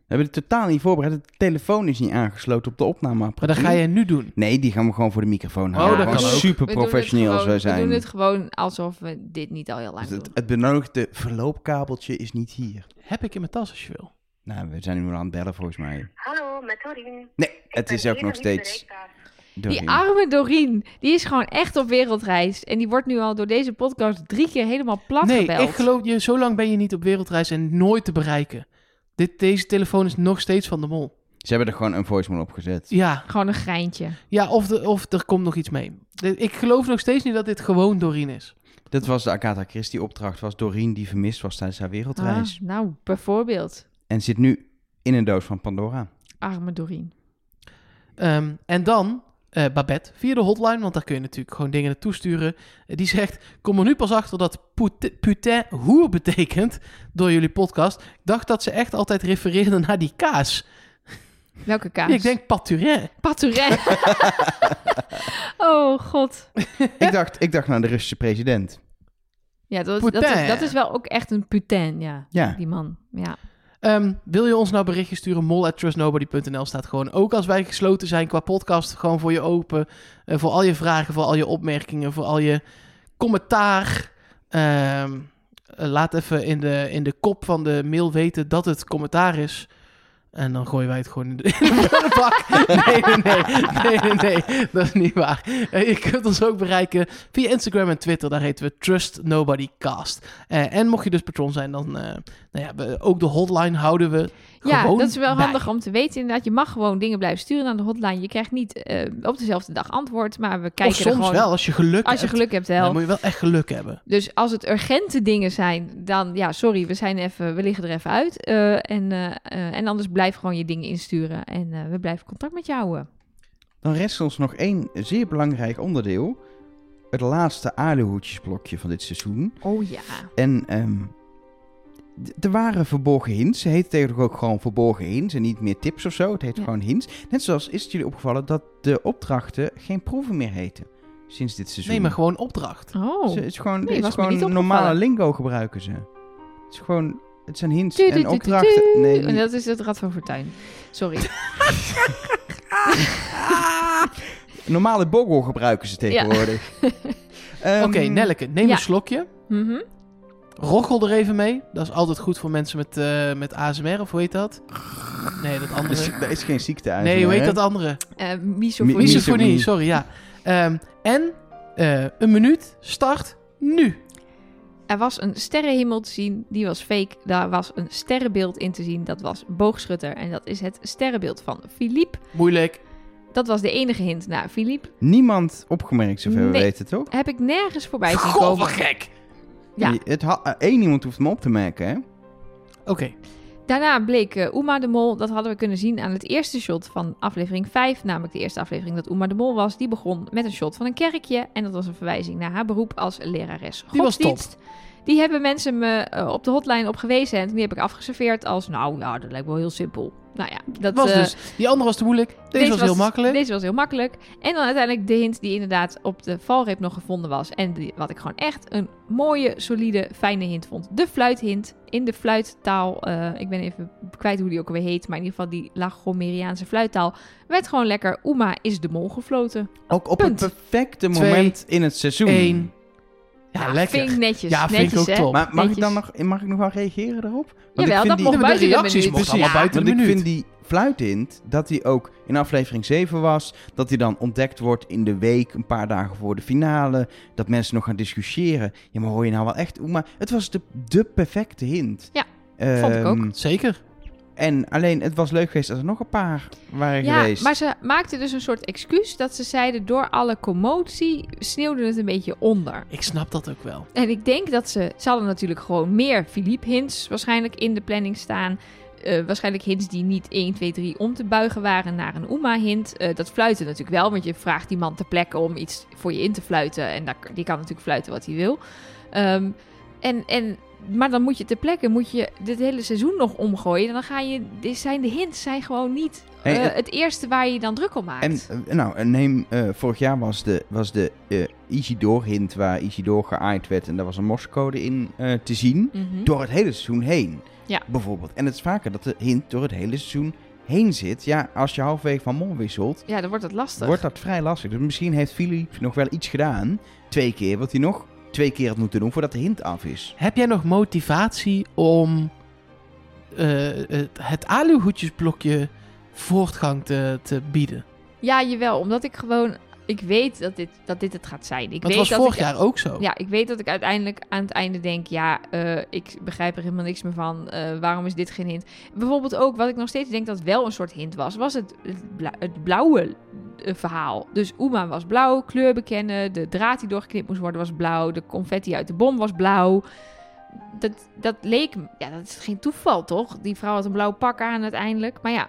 B: We hebben het totaal niet voorbereid. De telefoon is niet aangesloten op de opname.
C: Maar dat ga je nu doen.
B: Nee, die gaan we gewoon voor de microfoon
C: Oh,
B: houden.
C: dat
B: Gewoon
C: kan ook.
B: super
A: We doen het
B: professioneel als
A: gewoon-
B: wij zijn.
A: We doen het gewoon alsof we dit niet al heel lang
B: Dus
A: doen.
B: het, het benodigde verloopkabeltje is niet hier.
C: Heb ik in mijn tas als je wil.
B: Nou, we zijn nu wel aan het bellen volgens mij.
E: Hallo, met Dorien.
B: Nee, het
E: Ik
B: is
E: ben
B: ook nog
E: even niet
B: steeds.
E: bereikbaar.
B: Doreen.
A: Die arme Doreen, die is gewoon echt op wereldreis. En die wordt nu al door deze podcast drie keer helemaal plat
C: nee,
A: gebeld.
C: ik geloof je, zo lang ben je niet op wereldreis en nooit te bereiken. Dit, deze telefoon is nog steeds van de mol.
B: Ze hebben er gewoon een voicemail op gezet.
C: Ja,
A: Gewoon een geintje.
C: ja of, de, of er komt nog iets mee. De- Ik geloof nog steeds niet dat dit gewoon Doreen is.
B: Dat was de Agatha Christie opdracht. Was Doreen die vermist was tijdens haar wereldreis.
A: Ah, nou, bijvoorbeeld.
B: En zit nu in een doos van Pandora.
A: Arme Doreen.
C: Ehm, en dan eh, Babette via de hotline, want daar kun je natuurlijk gewoon dingen naartoe sturen. Eh, die zegt, kom er nu pas achter dat pute- putain hoer betekent door jullie podcast. Ik dacht dat ze echt altijd refereerde naar die kaas.
A: Welke kaas?
C: Ik denk paturin.
A: Patourijn. [LAUGHS] oh, god.
B: ik, dacht, ik dacht naar de Russische president.
A: Ja, dat, dat, is,
C: Putain.
A: dat is wel ook echt een putain, ja.
B: Ja.
A: Die man, ja.
C: Ehm, wil je ons nou berichtjes sturen? Mol at trustnobody.nl staat gewoon. Ook als wij gesloten zijn qua podcast, gewoon voor je open. Eh, voor al je vragen, voor al je opmerkingen, voor al je commentaar. Ehm, eh, laat even in de, in de kop van de mail weten dat het commentaar is. En dan gooien wij het gewoon in de, [LAUGHS] in de prullenbak. Nee, nee, nee, nee, nee, nee. Dat is niet waar. Eh, je kunt ons ook bereiken via Instagram en Twitter. Daar heten we Trust Nobody Cast. Eh, en mocht je dus patron zijn, dan... eh, nou ja, we- ook de hotline houden we
A: Ja,
C: gewoon
A: dat is wel
C: bij.
A: handig om te weten inderdaad. Je mag gewoon dingen blijven sturen aan de hotline. Je krijgt niet eh, op dezelfde dag antwoord, maar we kijken
C: Of soms
A: er gewoon...
C: wel, als je geluk
A: Als je
C: hebt.
A: geluk hebt
C: Dan
A: wel.
C: moet je wel echt geluk hebben.
A: Dus als het urgente dingen zijn, dan ja, sorry, we, zijn even, we liggen er even uit. Eh, en, eh, eh, en anders blijf gewoon je dingen insturen en eh, we blijven contact met jou houden.
B: Dan rest ons nog één zeer belangrijk onderdeel. Het laatste aluhoedjesblokje van dit seizoen.
A: Oh ja.
B: En ehm, d- er waren verborgen hints. Ze heet tegenwoordig ook gewoon verborgen hints en niet meer tips of zo. Het heet
A: Ja.
B: gewoon hints. Net zoals is het jullie opgevallen dat de opdrachten geen proeven meer heten sinds dit seizoen.
C: Nee, maar gewoon opdracht.
A: Oh.
B: Ze- het is gewoon,
A: Nee,
B: het is
A: was me niet
B: gewoon
A: opgevallen.
B: normale lingo gebruiken ze. Het is gewoon, het zijn hints
A: Tu, tu,
B: en
A: tu, tu, tu.
B: opdrachten. Nee,
A: En dat is het Rad van Fortuin. Sorry. [LAUGHS]
B: normale boggel gebruiken
A: [LAUGHS]
B: ze tegenwoordig. Ehm,
C: Oké, Nelleke, neem
A: ja.
C: een slokje.
A: Mhm.
C: Rochel er even mee. Dat is altijd goed voor mensen met, eh, met ASMR, of hoe heet dat? Nee, dat
B: Dat is,
C: andere.
B: dat is geen ziekte eigenlijk.
C: Nee, hoe heet
B: hè?
C: dat andere?
A: Eh, misofonie.
B: Mi- miso-
C: Misofonie, sorry, ja. Ehm, en eh, een minuut, start nu.
A: Er was een sterrenhemel te zien, die was fake. Daar was een sterrenbeeld in te zien, dat was boogschutter. En dat is het sterrenbeeld van Philippe.
C: Moeilijk.
A: Dat was de enige hint naar Philippe.
B: Niemand opgemerkt, zover we
A: Nee.
B: weten, toch?
A: Heb ik nergens voorbij zien
C: Goh,
A: komen.
C: wat gek.
A: Ja.
B: Je- Het ha- eh, één iemand hoeft me op te merken, hè?
C: Oké,
A: Daarna bleek eh, Uma de Mol, dat hadden we kunnen zien aan het eerste shot van aflevering 5, namelijk de eerste aflevering dat Uma de Mol was. Die begon met een shot van een kerkje en dat was een verwijzing naar haar beroep als lerares
C: Die was top.
A: godsdienst. Die hebben mensen me eh, op de hotline op gewezen en toen heb ik afgeserveerd als, nou ja, dat lijkt wel heel simpel. Nou ja, dat
C: dat was
A: eh,
C: dus. Die andere was te moeilijk. Deze, was, heel makkelijk.
A: Deze was heel makkelijk. En dan uiteindelijk de hint die inderdaad op de valreep nog gevonden was. En die, wat ik gewoon echt een mooie, solide, fijne hint vond. De fluithint in de fluittaal. eh, ik ben even kwijt hoe die ook alweer heet. Maar in ieder geval die Lagomeriaanse fluittaal. Werd gewoon lekker. Oema is de mol gefloten.
B: Ook op
A: Punt.
B: het perfecte
C: Twee,
B: moment in het seizoen.
C: Eén. Ja, lekker.
A: Vind ik netjes.
C: Ja, vind ik
A: netjes,
C: ook
A: hè?
C: top.
B: Maar mag ik
A: Netjes.
B: dan nog, mag ik nog wel reageren daarop? Want
A: Jawel, dat mocht
C: Ja, maar de
A: buiten de
C: reacties
A: minuut.
C: mochten
B: Precies,
C: allemaal buiten
B: want
C: de
B: ik
C: minuut.
B: vind die fluitint, dat die ook in aflevering 7 was, dat die dan ontdekt wordt in de week, een paar dagen voor de finale, dat mensen nog gaan discussiëren. Ja, maar hoor je nou wel echt, maar het was de, de perfecte hint.
A: Ja, vond ik ook.
B: Ehm,
C: Zeker.
B: En alleen, het was leuk geweest als er nog een paar waren
A: Ja,
B: geweest.
A: maar ze maakten dus een soort excuus dat ze zeiden door alle commotie sneeuwde het een beetje onder.
C: Ik snap dat ook wel.
A: En ik denk dat ze... Ze hadden natuurlijk gewoon meer Philippe hints waarschijnlijk in de planning staan. Eh, waarschijnlijk hints die niet 1, 2, 3 om te buigen waren naar een Uma-hint. dat fluiten natuurlijk wel, want je vraagt die man ter plekke om iets voor je in te fluiten. En daar, die kan natuurlijk fluiten wat hij wil. Ehm, en, en, maar dan moet je ter plekke moet je dit hele seizoen nog omgooien. En dan ga je... Dit zijn de hints zijn gewoon niet
B: Nee,
A: eh,
B: het-
A: het eerste waar je je dan druk om maakt.
B: En eh, nou, eh, neem, eh, vorig jaar was de, was de eh Isidore-hint waar Isidore geaaid werd en daar was een morsecode in eh, te zien.
A: Mhm.
B: Door het hele seizoen heen,
A: Ja.
B: bijvoorbeeld. En het is vaker dat de hint door het hele seizoen heen zit. Ja, als je halverwege van mol wisselt,
A: Ja, dan wordt het lastig.
B: wordt dat vrij lastig. Dus misschien heeft Philippe nog wel iets gedaan, twee keer, wat hij nog twee keer had moeten doen voordat de hint af is.
C: Heb jij nog motivatie om eh, het, het aluhoedjesblokje voortgang te, te bieden?
A: Ja, jawel. Omdat ik gewoon... Ik weet dat dit, dat dit het gaat zijn. Ik
C: Maar
A: weet
C: het was
A: dat
C: vorig
A: ik,
C: jaar ook zo.
A: Ja, ik weet dat ik uiteindelijk aan het einde denk... Ja, eh, ik begrijp er helemaal niks meer van. Eh, waarom is dit geen hint? Bijvoorbeeld ook, wat ik nog steeds denk dat wel een soort hint was... was het, het, bla- het blauwe eh, verhaal. Dus Uma was blauw, kleur bekennen. De draad die doorgeknipt moest worden was blauw. De confetti uit de bom was blauw. Dat, dat leek... me- Ja, dat is geen toeval, toch? Die vrouw had een blauw pak aan uiteindelijk. Maar ja...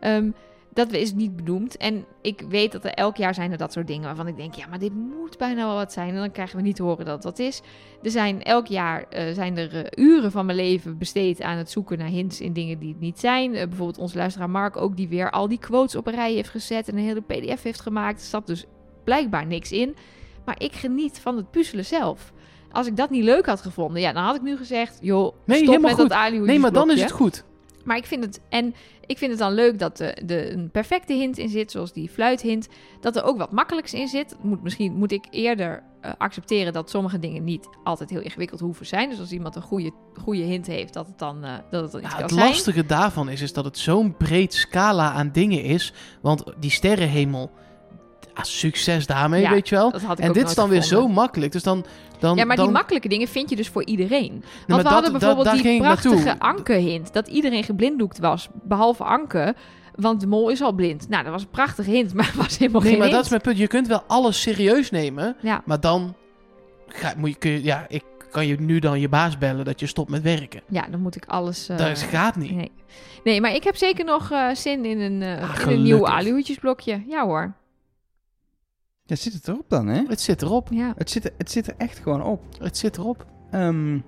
A: ehm, dat is niet benoemd. En ik weet dat er elk jaar zijn er dat soort dingen waarvan ik denk, ja, maar dit moet bijna wel wat zijn. En dan krijgen we niet te horen dat het dat is. Er zijn elk jaar eh, zijn er eh, uren van mijn leven besteed aan het zoeken naar hints in dingen die het niet zijn. Eh, bijvoorbeeld onze luisteraar Mark ook, die weer al die quotes op een rij heeft gezet en een hele pdf heeft gemaakt. Er zat dus blijkbaar niks in. Maar ik geniet van het puzzelen zelf. Als ik dat niet leuk had gevonden, ja, dan had ik nu gezegd, joh,
C: Nee,
A: stop
C: helemaal
A: met
C: goed.
A: dat alihoedjes
C: nee, maar dan is
A: blokje.
C: het goed.
A: Maar ik vind het. En ik vind het dan leuk dat er de, een perfecte hint in zit, zoals die fluithint. Dat er ook wat makkelijks in zit. Moet, misschien moet ik eerder eh, accepteren dat sommige dingen niet altijd heel ingewikkeld hoeven zijn. Dus als iemand een goede, goede hint heeft, dat het dan, eh, dat het dan iets
C: Ja,
A: kan
C: het
A: zijn.
C: lastige daarvan is, is dat het zo'n breed scala aan dingen is. Want die sterrenhemel, ah, succes daarmee,
A: Ja,
C: weet je wel.
A: Dat had ik
C: En
A: ook
C: dit
A: nooit
C: is dan weer
A: gevonden.
C: zo makkelijk. Dus dan, dan,
A: Ja, maar
C: dan,
A: die makkelijke dingen vind je dus voor iedereen.
C: nee,
A: Want we
C: maar
A: hadden bijvoorbeeld
C: daar
A: die
C: ging ik naartoe.
A: prachtige Anke-hint. Dat iedereen geblinddoekt was, behalve Anke. Want de mol is al blind. Nou, dat was een prachtige hint, [LAUGHS] maar het was helemaal
C: Nee,
A: geen
C: maar
A: hint.
C: dat is mijn punt. Je kunt wel alles serieus nemen,
A: Ja.
C: maar dan ga, moet je, kun je, ja, ik kan je nu dan je baas bellen dat je stopt met werken.
A: Ja, dan moet ik alles... eh,
C: dat gaat niet.
A: Nee. nee, maar ik heb zeker nog eh, zin in een, eh,
C: Ah,
A: in een nieuw
C: gelukkig.
A: aluhoedjesblokje. Ja hoor.
B: Ja, zit het erop dan, hè?
C: Het zit erop.
A: Ja.
B: Het zit, er- het zit er echt gewoon op.
C: Het zit erop.
B: Ehm,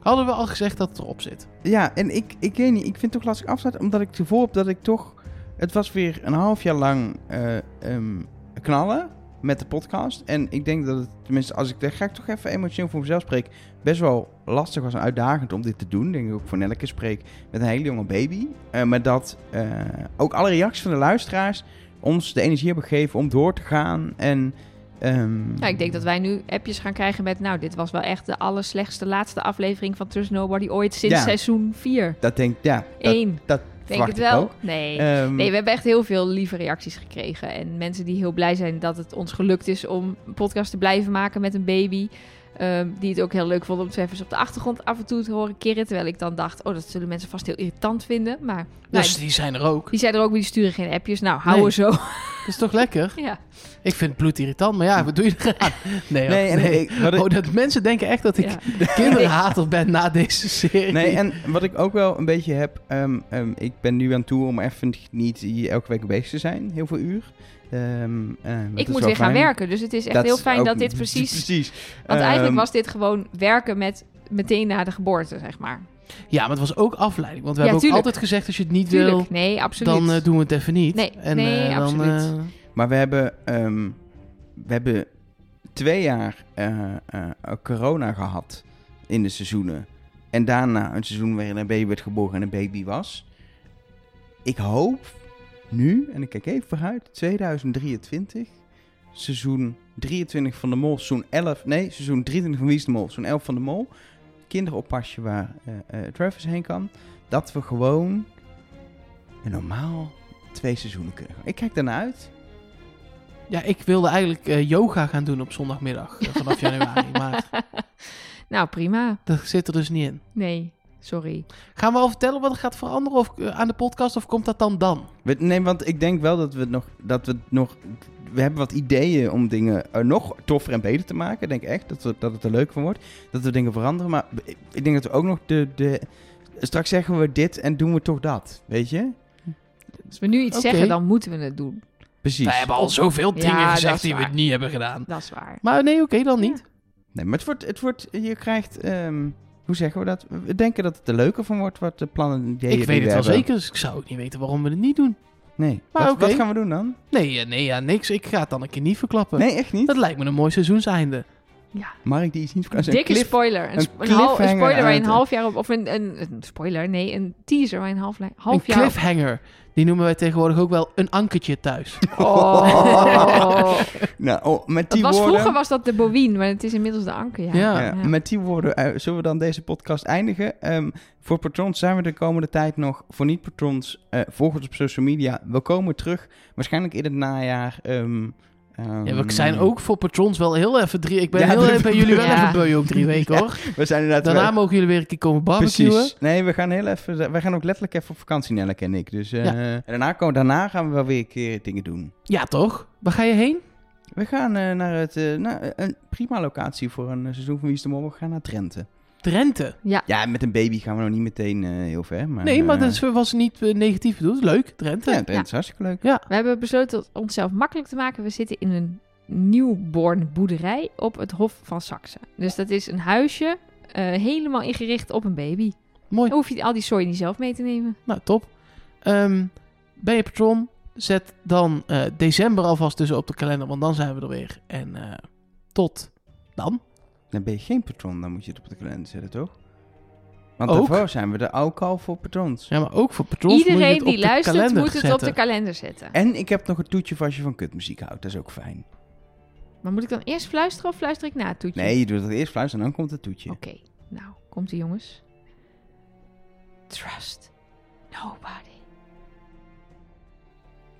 C: Hadden we al gezegd dat het erop zit?
B: ja, en ik, ik weet niet. Ik vind het toch lastig afsluiten, omdat ik het gevoel heb dat ik toch... Het was weer een half jaar lang eh, ehm, knallen met de podcast. En ik denk dat het, tenminste, als ik daar ga ik toch even emotioneel voor mezelf spreek... best wel lastig was en uitdagend om dit te doen. Denk ik ook voor Nelleke spreek met een hele jonge baby. Eh, maar dat eh, ook alle reacties van de luisteraars ons de energie hebben gegeven om door te gaan. En, ehm,
A: ja, ik denk dat wij nu appjes gaan krijgen met... Nou, dit was wel echt de allerslechtste laatste aflevering van Trust Nobody ooit sinds
B: Ja.
A: seizoen 4.
B: Dat denk ja, dat,
A: 1.
B: dat
A: Denk
B: verwacht
A: het
B: ik
A: wel.
B: ook.
A: Nee.
B: Ehm,
A: Nee, we hebben echt heel veel lieve reacties gekregen. En mensen die heel blij zijn dat het ons gelukt is om een podcast te blijven maken met een baby. Ehm, die het ook heel leuk vonden om het even op de achtergrond af en toe te horen kirren. Terwijl ik dan dacht, oh, dat zullen mensen vast heel irritant vinden. Maar nou,
C: Dus die zijn er ook.
A: Die zijn er ook, maar die sturen geen appjes. Nou, hou
C: Nee.
A: er zo.
C: Dat is toch lekker?
A: [LAUGHS] Ja.
C: Ik vind het bloedirritant, maar ja, wat doe je eraan? Nee, hoor.
B: nee, en ik- wat ik-
C: Oh, dat mensen denken echt dat ik
A: Ja.
C: kinderhater ben na deze
A: [LAUGHS]
C: serie.
B: nee, en wat ik ook wel een beetje heb... ehm, ehm, ik ben nu aan toe om even niet hier elke week bezig te zijn. Heel veel uur. Ehm, ehm,
A: Ik
B: dat is
A: moet
B: wel
A: weer gaan
B: fijn.
A: werken. Dus het is echt
B: Dat
A: heel
B: is
A: fijn
B: ook-
A: dat dit precies...
B: [LAUGHS] precies.
A: Want
B: Ehm,
A: eigenlijk was dit gewoon werken met meteen na de geboorte, zeg maar.
C: Ja, maar het was ook afleiding. Want we
A: Ja,
C: hebben ook
A: tuurlijk.
C: altijd gezegd, als je het niet wil,
A: Tuurlijk, nee, absoluut.
C: dan eh, doen we het even niet.
A: Nee,
C: en,
A: nee,
C: eh, dan,
A: absoluut.
C: eh,
B: Maar we hebben, ehm, we hebben twee jaar eh, eh, corona gehad in de seizoenen. En daarna een seizoen waarin een baby werd geboren en een baby was. Ik hoop nu, en ik kijk even vooruit, 2023, seizoen 23 van de Mol, seizoen 11, nee, seizoen 23 van Wie is de Mol, seizoen 11 van de Mol. Kinderoppasje waar eh, eh, Travis heen kan. Dat we gewoon een normaal twee seizoenen kunnen gaan. Ik kijk daarna uit.
C: ja, ik wilde eigenlijk eh, yoga gaan doen op zondagmiddag eh, vanaf januari. [LAUGHS] maar
A: nou, prima.
C: dat zit er dus niet in.
A: Nee, sorry.
C: Gaan we al vertellen wat er gaat veranderen of, eh, aan de podcast? Of komt dat dan dan?
B: We- nee, want ik denk wel dat we het nog, dat we het nog, we hebben wat ideeën om dingen eh, nog toffer en beter te maken. Ik denk echt dat, we, dat het er leuk van wordt, dat we dingen veranderen. Maar ik- ik denk dat we ook nog de, de, straks zeggen we dit en doen we toch dat, weet je?
A: Als we nu iets
C: Oké.
A: zeggen, dan moeten we het doen.
B: Precies. Nee,
C: We
B: maar,
C: hebben al zoveel
A: Ja,
C: dingen
A: dat
C: gezegd
A: is
C: die we
A: waar.
C: niet hebben gedaan.
A: Dat is waar.
C: Maar nee, oké, dan niet.
B: het wordt, het wordt, je krijgt, ehm, hoe zeggen we dat? We denken dat het er leuker van wordt, wat de plannen en ideeën
C: ik
B: die
C: weet het
B: we
C: wel
B: hebben.
C: zeker, dus ik zou ook niet weten waarom we het niet doen.
B: Nee.
C: Maar
B: wat,
C: oké.
B: wat gaan we doen dan?
C: Nee, eh, nee ja, niks. Ik ga het dan een keer niet verklappen.
B: Nee, echt niet?
C: Dat lijkt me een mooi seizoenseinde.
A: Ja.
B: Mag ik die iets niet verklappen?
A: Dikke
B: Cliff-
A: spoiler. Een,
B: een
A: sp- een hal- een
B: cliffhanger
A: spoiler waar je een
B: uit-
A: half jaar op... Of een, een, een spoiler, nee. Een teaser waar je een half, li- half
C: Een
A: jaar op-
C: cliffhanger. Die noemen wij tegenwoordig ook wel een
B: [LAUGHS]
C: ankertje thuis.
A: Oh.
B: Nou, oh, met
A: Dat
B: die
A: was,
B: woorden...
A: vroeger was dat de bovien, maar het is inmiddels de anker. Ja.
C: Oh, Ja.
B: Ja, Met die woorden eh, zullen we dan deze podcast eindigen. Ehm, voor patrons zijn we de komende tijd nog. Voor niet-patrons, eh volg ons op social media. We komen terug, waarschijnlijk in het najaar. ehm, ehm,
C: Ja, we zijn ook voor patrons wel heel even drie... Ik ben
B: Ja,
C: heel
B: drie-
C: even bij jullie wel
A: Ja.
C: even beu ook
B: [LAUGHS]
C: drie weken, hoor.
B: We zijn inderdaad
C: Daarna
B: wel-
C: mogen jullie weer een keer komen barbecuen.
B: Precies. Nee, we gaan heel even. Wij gaan ook letterlijk even op vakantie, Nelleke en ik. Dus eh,
C: Ja.
B: en daarna, komen, daarna gaan we wel weer een keer dingen doen.
C: Ja, toch? Waar ga je heen?
B: We gaan eh, naar het, eh, nou, eh, een prima locatie voor een eh, seizoen van Wie is de Mol. We gaan naar Drenthe.
C: Drenthe.
B: Ja, met een baby gaan we nog niet meteen eh, heel ver. Maar,
C: Nee, maar
B: eh,
C: dat is- was niet eh, negatief bedoeld. Leuk, Drenthe.
B: Ja, Drenthe is hartstikke leuk.
A: We hebben besloten het onszelf makkelijk te maken. We zitten in een nieuwborn boerderij op het Hof van Saxe. Dus dat is een huisje eh, helemaal ingericht op een baby.
C: Mooi.
A: Dan hoef je al die zooi niet zelf mee te nemen.
C: Nou, top. Ehm, ben je patron? Zet dan eh, december alvast dus op de kalender, want dan zijn we er weer. En eh, tot dan.
B: Dan ben je geen patron, dan moet je het op de kalender zetten, toch? Want
C: Ook?
B: daarvoor zijn we de oude kalf voor patrons.
C: Ja, maar ook voor patrons moet je
A: Iedereen
C: het op
A: die
C: de
A: luistert
C: kalender
A: moet het op
C: zetten.
A: de kalender zetten.
B: En ik heb nog een toetje voor als je van kutmuziek houdt. Dat is ook fijn.
A: Maar moet ik dan eerst fluisteren of fluister ik na het toetje?
B: Nee, je doet dat eerst fluisteren en dan komt het toetje.
A: Oké, nou, komt ie jongens. Trust nobody.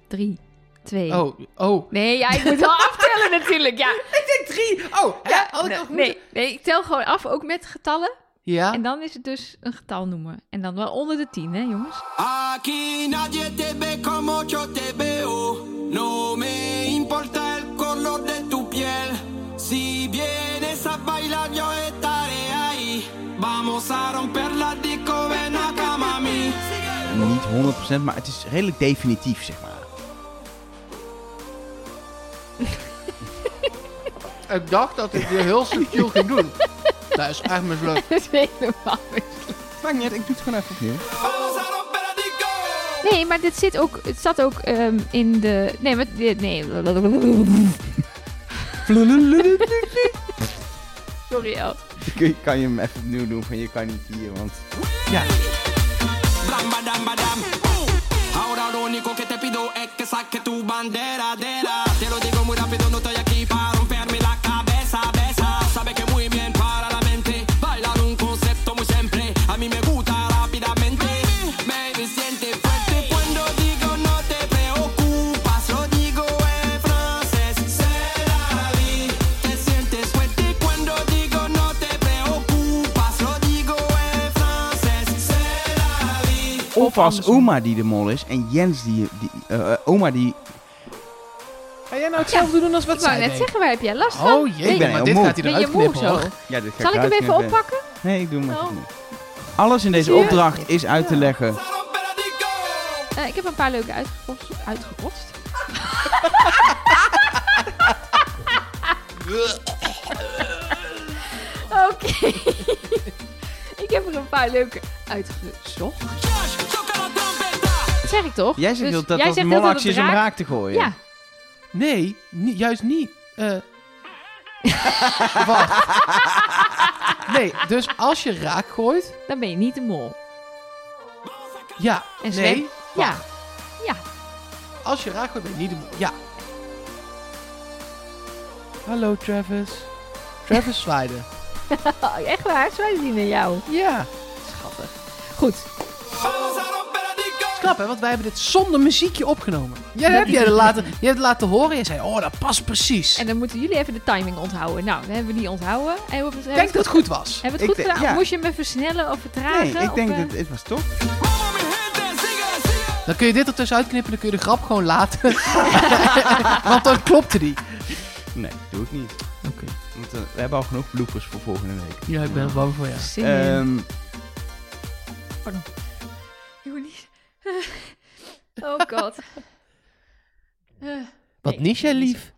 A: Drie, twee...
C: Oh, oh.
A: Nee, ja, ik moet wel [LAUGHS] aftellen natuurlijk, ja.
C: Drie! Oh, hè?
A: Ja,
C: Had ik
A: nee,
C: nog moeten-
A: nee, nee, ik tel gewoon af, ook met getallen.
C: Ja.
A: En dan is het dus een getal noemen. En dan wel onder de 10, hè, jongens?
E: Aquí nadie te ve como yo te veo. No me importa el color de tu piel. Si vienes a bailar, yo estaré ahí. Vamos a romper la disco, ven acá, mami.
B: Oh. Niet 100%, maar het is redelijk definitief, zeg maar.
C: Ik dacht dat ik dit heel subtiel ging
A: [LAUGHS]
C: doen. Dat is echt mislukt.
A: Dat is helemaal mis.
B: Maakt niet uit, ik doe het gewoon even opnieuw.
E: Vamos a romper la disco.
A: Nee, maar dit zit ook, het zat ook ehm, in de... Nee, maar... dit- Nee. Sorry, El.
B: [LAUGHS] Kun je- Kan je hem even opnieuw doen, van je kan niet hier, want...
C: Ja.
E: Bram, badam, badam. Ahora lo único que te pido es que saque tu bandera de la. Te lo digo muy rápido, no estoy aquí para romperme la cabeza, besa. Sabe que muy bien para la mente. Bailar un concepto muy simple. A mí me gusta rápidamente. Baby, siente fuerte cuando digo no te preocupas. Lo digo en francés. C'est la vie. Te sientes fuerte cuando digo no te preocupas. Lo digo en francés. C'est la vie.
B: Of als oma die de mol is en Jens die... die eh, eh, oma die...
C: Ga jij nou hetzelfde doen als wat
A: Ik wou
C: zij
A: net
C: deed?
A: zeggen, waar heb jij last van?
C: Oh jee,
B: Ik ben
C: maar
B: heel
C: dit
B: moe.
C: gaat hij
A: Ben je
C: eruit
A: moe
C: knippen
A: zo?
C: hoor.
B: Ja, dit ga
A: Zal ik hem even
B: uitknippen.
A: oppakken?
B: Nee, ik doe hem even
A: Oh.
B: opnieuw. Alles in deze
A: Zie je?
B: opdracht is uit te leggen.
E: Vamos a romper la disco.
A: Eh, ik heb een paar leuke uitgepost. uitgepost. Oké. [LAUGHS] ik heb er een paar leuke uitgezocht.
E: Josh, toca la trompeta.
A: Dat zeg ik toch?
B: Jij zegt
A: Dus jij
B: dat dat de
A: zegt heel dat
B: molactie
A: het
B: is om
A: raak-
B: raak te gooien.
A: Ja,
C: Nee, ni- juist niet. [LAUGHS] Eh wacht. Nee, dus als je raak gooit...
A: dan ben je niet de mol.
C: Ja,
A: En Sven?
C: nee.
A: Ja.
C: Als je raak gooit ben je niet de mo- Ja. Hallo Travis. Travis Zwaaiden.
A: Oh, echt waar? Zwaai zien naar jou.
C: [LAUGHS] Ja.
A: Schattig. Goed.
E: Vamos a romper la disco.
C: Knap hè, want wij hebben dit zonder muziekje opgenomen. Jij hebt [LAUGHS] jij het laten, jij hebt het laten horen. Je zei, oh dat past precies.
A: En dan moeten jullie even de timing onthouden. Nou, dat hebben we niet onthouden. En we hebben het-
C: Ik denk dat het goed was.
A: Hebben we het
B: Ik
A: goed
B: denk-
A: gedaan?
B: ja.
A: Of moest je me versnellen of vertragen?
B: Nee, ik
A: Of,
B: denk
A: eh,
B: dat het was top.
E: Vamos, mi gente, sigue, sigue.
C: Dan kun je dit ertussen uitknippen, dan kun je de grap gewoon
A: [LAUGHS]
C: laten. [LAUGHS] Want dan klopte die.
B: Nee, doe ik niet.
C: Oké.
B: Want, eh, we hebben al genoeg bloepers voor volgende week.
C: Ja, ik ben heel bang voor jou.
A: Zin in.
B: Ehm,
A: Jongens. [LAUGHS] Oh god. Eh,
C: Wat
A: Nee,
C: mis jij
A: niet
C: lief?